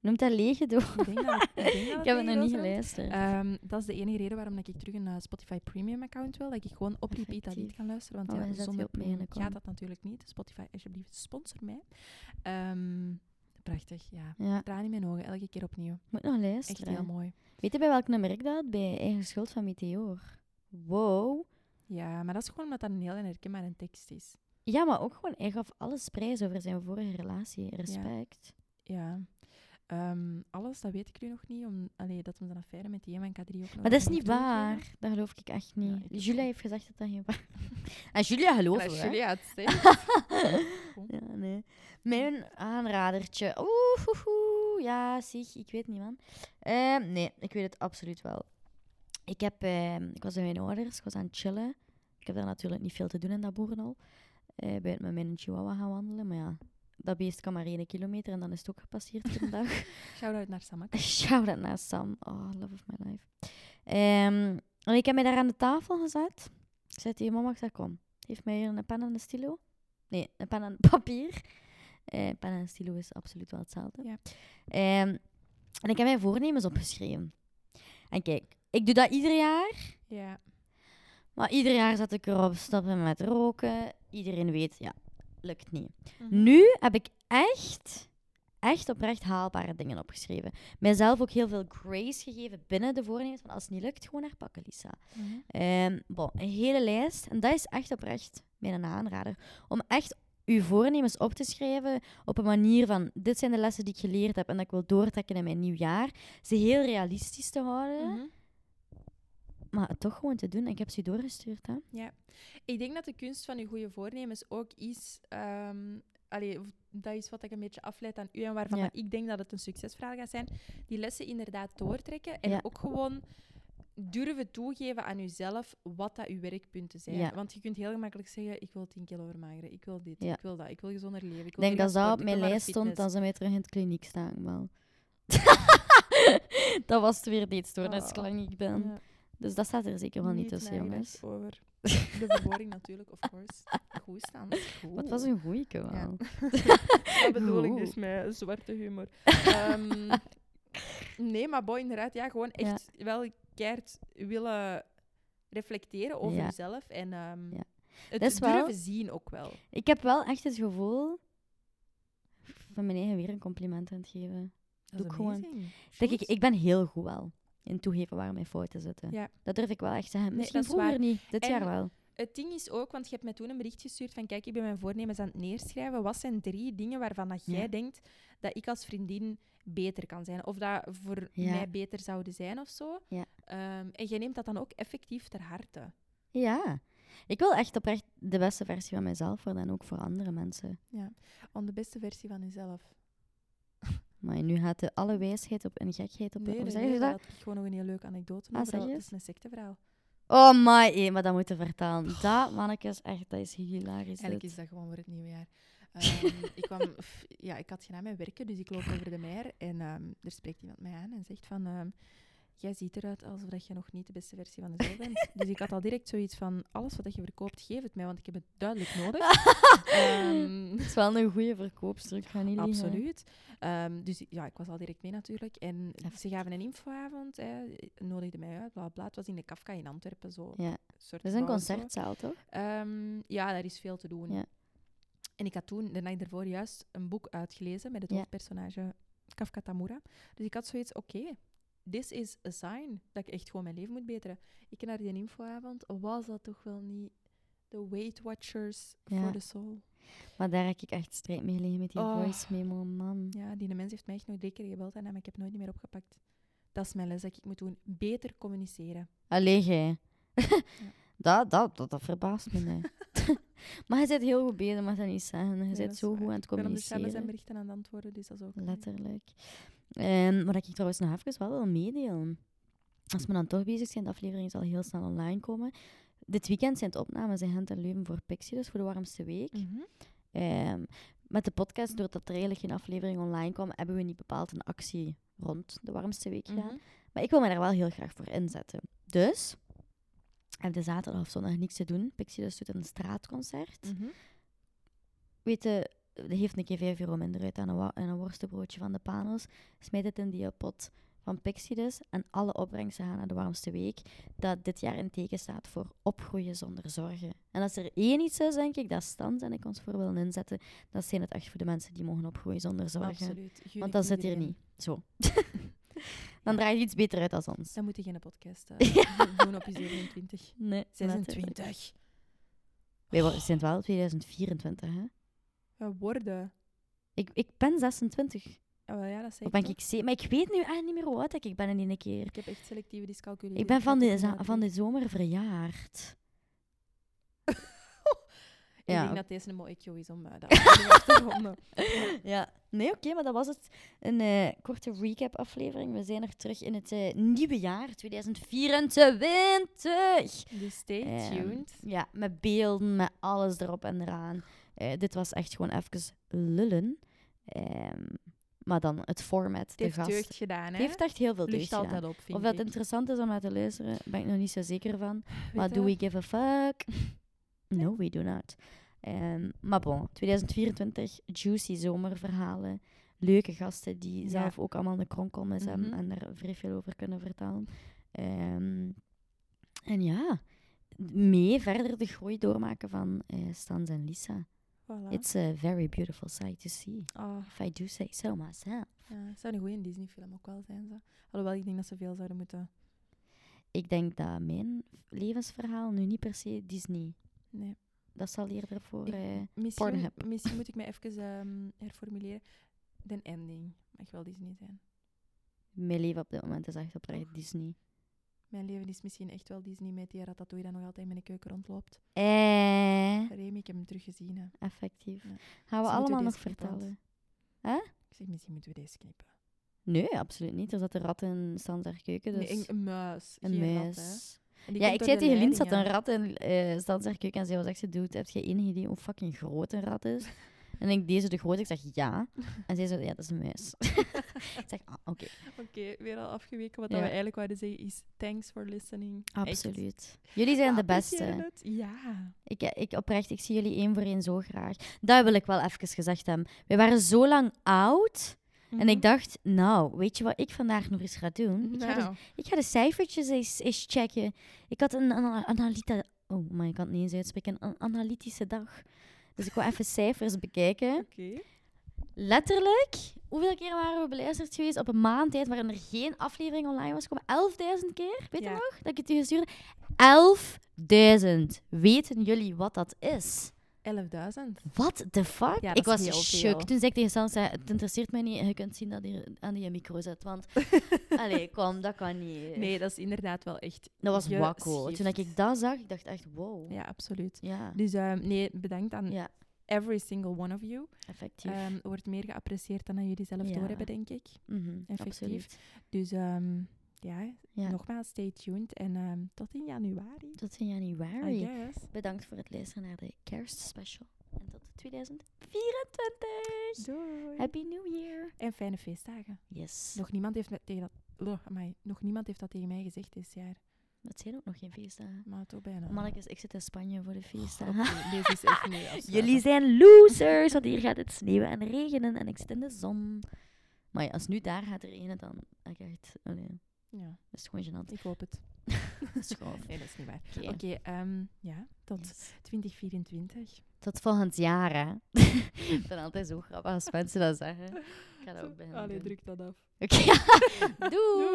A: Noemt dat lege door?
B: Ik, denk dat, ik, denk dat
A: Ik heb het nog
B: Lege
A: niet
B: Dozen heet.
A: geluisterd.
B: Ehm, dat is de enige reden waarom dat ik terug een eh, Spotify Premium account wil. Dat ik gewoon op repeat dat lied
A: Effectief.
B: kan luisteren. Want
A: Oh,
B: ja,
A: hij zet die
B: zonder
A: op me
B: premium
A: en ik
B: gaat
A: kom.
B: dat natuurlijk niet. Spotify, alsjeblieft, sponsor mij. Ehm, prachtig, ja.
A: ja,
B: Traan in mijn ogen, elke keer opnieuw.
A: moet nog
B: Echt
A: luisteren.
B: heel mooi.
A: Weet je bij welk nummer ik dat had? Bij Eigen Schuld van Meteor. Wow.
B: Ja, maar dat is gewoon omdat dat een heel herkenbare tekst is.
A: Ja, maar ook gewoon, hij gaf alles prijs over zijn vorige relatie. Respect.
B: Oh, Ja. Ehm, alles, dat weet ik nu nog niet. Om, allee, dat om een affaire met die en K3 ook nog
A: Maar dat is
B: heeft
A: niet waar. Dat geloof ik echt niet.
B: ik ook
A: Julia
B: niet.
A: heeft gezegd dat dat geen waar En Julia gelooft
B: toegegeven.
A: het,
B: Als
A: hè.
B: jullie het zeggen.
A: ja, nee. Mijn aanradertje. Oeh, hoe, hoe. ja, zie, ik weet niet, man. Ehm, nee, ik weet het absoluut wel. Ik, heb, ehm, ik was bij mijn ouders, ik was aan het chillen. Ik heb daar natuurlijk niet veel te doen in dat boerenal. Eh ben met mijn chihuahua gaan wandelen, maar ja, dat beest kan maar één kilometer en dan is het ook gepasseerd voor de dag.
B: Shout-out naar Samak.
A: Shout out naar Sam. Oh, love of my life. Ehm, en ik heb mij daar aan de tafel gezet. Ik zei tegen mama, ik zei, kom, geef mij hier een pen en een stilo. Nee, een pen en papier. Eh, pen en stilo is absoluut wel hetzelfde.
B: Ja.
A: Ehm, en ik heb mijn voornemens opgeschreven. En kijk, ik doe dat ieder jaar.
B: Ja.
A: Maar ieder jaar zet ik erop, stoppen met roken. Iedereen weet, ja, lukt niet.
B: Mhm.
A: Nu heb ik echt, echt oprecht haalbare dingen opgeschreven. Mijzelf ook heel veel grace gegeven binnen de voornemens. Van als het niet lukt, gewoon herpakken, Lisa.
B: Mhm.
A: Ehm, bon, een hele lijst. En dat is echt oprecht mijn aanrader. Om echt uw voornemens op te schrijven op een manier van... Dit zijn de lessen die ik geleerd heb en dat ik wil doortrekken in mijn nieuw jaar. Ze heel realistisch te houden,
B: Mhm.
A: maar het toch gewoon te doen. Ik heb ze u doorgestuurd, hè.
B: Ik denk dat de kunst van uw goede voornemens ook is... ehm, allee, of dat is wat ik een beetje afleid aan u en waarvan
A: Ja.
B: dat ik denk dat het een succesverhaal gaat zijn. Die lessen inderdaad doortrekken en
A: Ja.
B: ook gewoon durven toegeven aan uzelf wat dat uw werkpunten zijn.
A: Ja.
B: Want je kunt heel gemakkelijk zeggen, ik wil 10 kilo vermageren, ik wil dit,
A: Ja.
B: ik wil dat, ik wil gezonder leven. Ik
A: Ik
B: wil
A: denk
B: terug
A: dat
B: aan
A: dat
B: sport,
A: op
B: ik
A: mijn
B: wil naar de
A: lijst stond,
B: fitness.
A: dan ze mij terug in het kliniek staan wel. dat was het weer de eetstoornis,
B: Oh.
A: lang ik ben.
B: Ja.
A: Dus dat staat er zeker wel niet
B: Niet
A: tussen,
B: nagedacht
A: jongens.
B: Over de verboring natuurlijk, of course. Goed staan.
A: Wat was een goeie wel.
B: Ja. Dat bedoel ik dus met zwarte humor. Ehm, nee, maar boy, inderdaad, ja, gewoon echt wel keert willen reflecteren over
A: Ja.
B: jezelf en ehm,
A: Ja.
B: het
A: Dat is
B: durven
A: wel-
B: zien ook wel.
A: Ik heb wel echt het gevoel van mijn eigen weer een compliment aan het geven.
B: Dat is
A: Doe ik gewoon.
B: amazing.
A: Denk ik,
B: Shoot.
A: ik ben heel goed wel in toegeven waar mijn fouten zitten.
B: Ja.
A: Dat durf ik wel echt te zeggen.
B: Nee,
A: Misschien
B: dat is
A: vroeger
B: waar.
A: niet, dit
B: En-
A: jaar wel.
B: het ding is ook, want je hebt mij toen een bericht gestuurd van kijk, ik ben mijn voornemens aan het neerschrijven. Wat zijn drie dingen waarvan dat jij
A: Ja.
B: denkt dat ik als vriendin beter kan zijn? Of dat voor
A: Ja.
B: mij beter zouden zijn of zo?
A: Ja.
B: Ehm, en jij neemt dat dan ook effectief ter harte.
A: Ja. Ik wil echt oprecht de beste versie van mezelf worden en ook voor andere mensen.
B: Om de beste versie van jezelf.
A: Maar nu gaat de alle wijsheid op een gekheid op. hoe zeg je
B: daar
A: dat?
B: had ik gewoon nog een heel leuke anekdote
A: Ah,
B: over.
A: zeg
B: dat
A: eens.
B: is een secteverhaal.
A: Oh my, eh, maar dat moeten we vertalen. Dat, mannetjes, echt, dat is hilarisch.
B: Eigenlijk
A: dit.
B: is dat gewoon voor het nieuwe jaar. Ehm, ik, kwam, f- ja, ik had geen aan mijn werken, dus ik loop over de meier. En ehm, er spreekt iemand mij aan en zegt van... ehm, Jij ziet eruit alsof dat je nog niet de beste versie van jezelf bent. Dus ik had al direct zoiets van... Alles wat dat je verkoopt, geef het mij, want ik heb het duidelijk nodig. Ehm,
A: Het is wel een goede verkoopster, ik ga niet liegen.
B: Absoluut. Ehm, dus ja, ik was al direct mee natuurlijk. En
A: Heftig.
B: ze gaven een infoavond, hè, nodigden mij uit, bla bla. Het was in de Kafka in Antwerpen, zo.
A: Ja.
B: soort
A: Dat is een
B: gebouw of zo.
A: concertzaal, toch?
B: Ehm, ja, daar is veel te doen.
A: Ja.
B: En ik had toen, de nacht daarvoor, juist een boek uitgelezen met het
A: Ja.
B: hoofdpersonage Kafka Tamura. Dus ik had zoiets, oké, this is a sign dat ik echt gewoon mijn leven moet beteren. Ik ging naar die infoavond, was dat toch wel niet de Weight Watchers
A: Ja.
B: for the soul?
A: Maar daar heb ik echt strijd mee gelegen met die
B: Oh.
A: voice memo, man.
B: Ja, die mens heeft mij echt nog drie keer gebeld en ik heb nooit meer opgepakt. Dat is mijn les dat ik moet doen. Beter communiceren.
A: Allee, jij. dat, dat, dat, dat verbaast me. nee. maar je zit heel goed bezig, maar dat niet zeggen. Je
B: Nee, dat
A: zit
B: is
A: zo goed
B: waar.
A: aan het
B: Ik ben op de cellen zijn
A: communiceren.
B: berichten dus aan het antwoorden, dus dat is ook... niet-
A: Letterlijk. Ehm maar dat ik trouwens nog even wel wil meedelen. Als we dan toch bezig zijn, de aflevering zal heel snel online komen. Dit weekend zijn het opnames in Gent en Leuven voor Pixie, dus voor de warmste week.
B: Mhm.
A: Ehm, met de podcast, doordat er eigenlijk geen aflevering online kwam, hebben we niet bepaald een actie rond de warmste week gedaan.
B: Mhm.
A: Maar ik wil me daar wel heel graag voor inzetten. Dus, heb de zaterdag of zondag niks te doen. Pixie dus doet een straatconcert.
B: Mhm.
A: Weet je, die heeft een keer 5 euro minder uit aan een, wa- aan een worstenbroodje van de panels. Smijt het in die pot van Pixie dus. En alle opbrengsten gaan naar de warmste week. Dat dit jaar in teken staat voor opgroeien zonder zorgen. En als er één iets is, denk ik, dat is Stans en ik ons voor willen inzetten. Dat zijn het echt voor de mensen die mogen opgroeien zonder zorgen.
B: Absoluut. Gun
A: Want
B: ik
A: dat zit hier
B: iedereen.
A: niet. Zo. Dan draait het iets beter uit dan ons.
B: Dan moet je geen podcast eh, doen op je 27.
A: Nee, letterlijk.
B: 26.
A: Wij worden- zijn wel 2024, hè?
B: Ja, worden.
A: Ik, ik ben 26.
B: Ja, wel, ja, dat zei
A: Of ben
B: toch.
A: ik ze- Maar ik weet nu echt niet meer hoe oud ik ben in één keer.
B: Ik heb echt selectieve dyscalculie.
A: Ik ben van
B: had
A: de,
B: dat
A: za-
B: inderdaad
A: van de
B: niet.
A: zomer verjaard.
B: Ik
A: Ja,
B: denk
A: oké.
B: dat deze een mooi echo is om eh, dat aflevering af te ronden.
A: Ja. Nee, oké, maar dat was het. Een eh, korte recap-aflevering. We zijn er terug in het eh, nieuwe jaar, 2024.
B: Dus stay
A: Ehm,
B: tuned.
A: ja, met beelden, met alles erop en eraan. Eh, dit was echt gewoon even lullen. Ehm, maar dan het format,
B: Het heeft
A: de gast.
B: deugd gedaan, hè?
A: Het heeft echt heel veel deugd
B: Lucht
A: gedaan.
B: altijd op, vind
A: Of dat
B: ik.
A: interessant is om naar te luisteren, ben ik nog niet zo zeker van.
B: Weet
A: Maar
B: je
A: do
B: wat?
A: we give a fuck? No, we do not. Ehm, maar bon, 2024, juicy zomerverhalen. Leuke gasten die
B: Ja.
A: zelf ook allemaal een kronkel mis hebben
B: Mhm.
A: en daar vrij veel over kunnen vertellen. Ehm, en ja, mee verder de groei doormaken van eh, Stans en Lisa.
B: Voilà.
A: It's a very beautiful sight to see.
B: Ah,
A: If I do say so myself.
B: ja, het zou een goede Disney-film ook wel zijn. Zo. Alhoewel, ik denk dat ze veel zouden moeten...
A: Ik denk dat mijn levensverhaal nu niet per se Disney.
B: Nee.
A: Dat zal eerder voor.
B: Ik-
A: eh,
B: Misschien,
A: Pornhub.
B: misschien moet ik mij even ehm, herformuleren. De ending mag wel Disney zijn.
A: mijn leven op dit moment is echt oprecht Disney.
B: Mijn leven is misschien echt wel Disney met die ratatouille dat nog altijd in mijn keuken rondloopt.
A: Eh,
B: Remy, ik heb hem teruggezien. Hè.
A: effectief.
B: Ja.
A: Gaan we
B: Ze moeten
A: allemaal
B: deze
A: nog
B: kant aan.
A: vertellen?
B: Ik zeg, misschien moeten we deze knippen.
A: Nee, absoluut niet. Er zat een rat in Stans haar keuken. Dus
B: Nee, een, een muis.
A: een
B: geen
A: muis.
B: rat, hè. En die
A: ja,
B: komt
A: ik
B: door
A: zei
B: de
A: tegen Lien, zat een
B: leidingen.
A: rat in eh Stans haar keuken. En zij was echt zo, dude, heb je enig idee hoe fucking groot een rat is? En ik deze de groot. Ik zeg, ja. En zij zo, ja, dat is een muis. ik zeg, ah, oké.
B: Oké, weer al afgeweken.
A: Ja.
B: Wat dat we eigenlijk wouden zeggen is thanks for listening. Echt. Ah,
A: Absoluut. Jullie zijn de
B: We appreciëren
A: beste.
B: het. Ja.
A: Ik, eh, ik oprecht, ik zie jullie één voor één zo graag. Dat wil ik wel even gezegd hebben. We waren zo lang oud.
B: Mhm.
A: En ik dacht, nou, weet je wat ik vandaag nog eens ga doen? Ik, ga, de,
B: Nou,
A: ik ga de cijfertjes eens, eens checken. Ik had een ana analita... Oh, maar ik kan het niet eens uitspreken. Een an- analytische dag. Dus ik wil even cijfers bekijken.
B: oké.
A: Letterlijk, hoeveel keer waren we veel beluisterd geweest op een maand tijd waarin er geen aflevering online was gekomen. 11.000 keer, weet je
B: Ja.
A: nog? Dat ik het u gestuurd 11.000. Weten jullie wat dat is?
B: 11.000.
A: What the fuck?
B: Ja, dat
A: ik was
B: is heel
A: shook
B: veel.
A: toen zei ik tegen Sans, het interesseert mij niet, je kunt zien dat hier aan die micro zit, want... Allee, kom, dat kan niet.
B: Nee, dat is inderdaad wel echt.
A: dat was
B: je
A: wakko. Toen
B: schift.
A: ik dat zag, ik dacht echt, wow.
B: Ja, absoluut.
A: Ja,
B: Dus ehm, nee, bedankt aan
A: ja
B: every single one of you.
A: effectief.
B: Ehm, wordt meer geapprecieerd dan dat jullie zelf
A: Ja.
B: doorhebben, denk ik.
A: Mhm,
B: effectief.
A: Absoluut.
B: Dus ehm, ja,
A: Ja.
B: nogmaals, stay tuned. En ehm, tot in januari,
A: Tot in januari.
B: I guess.
A: Bedankt voor het luisteren naar de kerstspecial. En tot 2024.
B: Doei.
A: Happy New Year.
B: En fijne feestdagen.
A: Yes.
B: Nog niemand heeft, me- tegen dat, Ugh, amai. nog niemand heeft dat tegen mij gezegd dit jaar.
A: Het zijn ook nog geen feestdagen.
B: Maar toch bijna.
A: Mannetjes, ik zit in Spanje voor de feestdagen.
B: Oh, Oké, deze is echt niet afsluiten.
A: Jullie zijn losers, want hier gaat het sneeuwen en regenen en ik zit in de zon. Maar ja, als nu daar gaat regenen, dan dan ga ik echt... Oh nee,
B: Ja,
A: dat is gewoon gênant.
B: ik hoop het.
A: Schoof.
B: Nee, dat is niet waar.
A: Oké.
B: Oké, ehm, ja, tot
A: Yes.
B: 2024.
A: Tot volgend jaar, hè. ik ben altijd zo grappig als mensen dat zeggen. Ik ga dat ook bij hen
B: Allee,
A: doen.
B: druk dat af.
A: Oké, doei!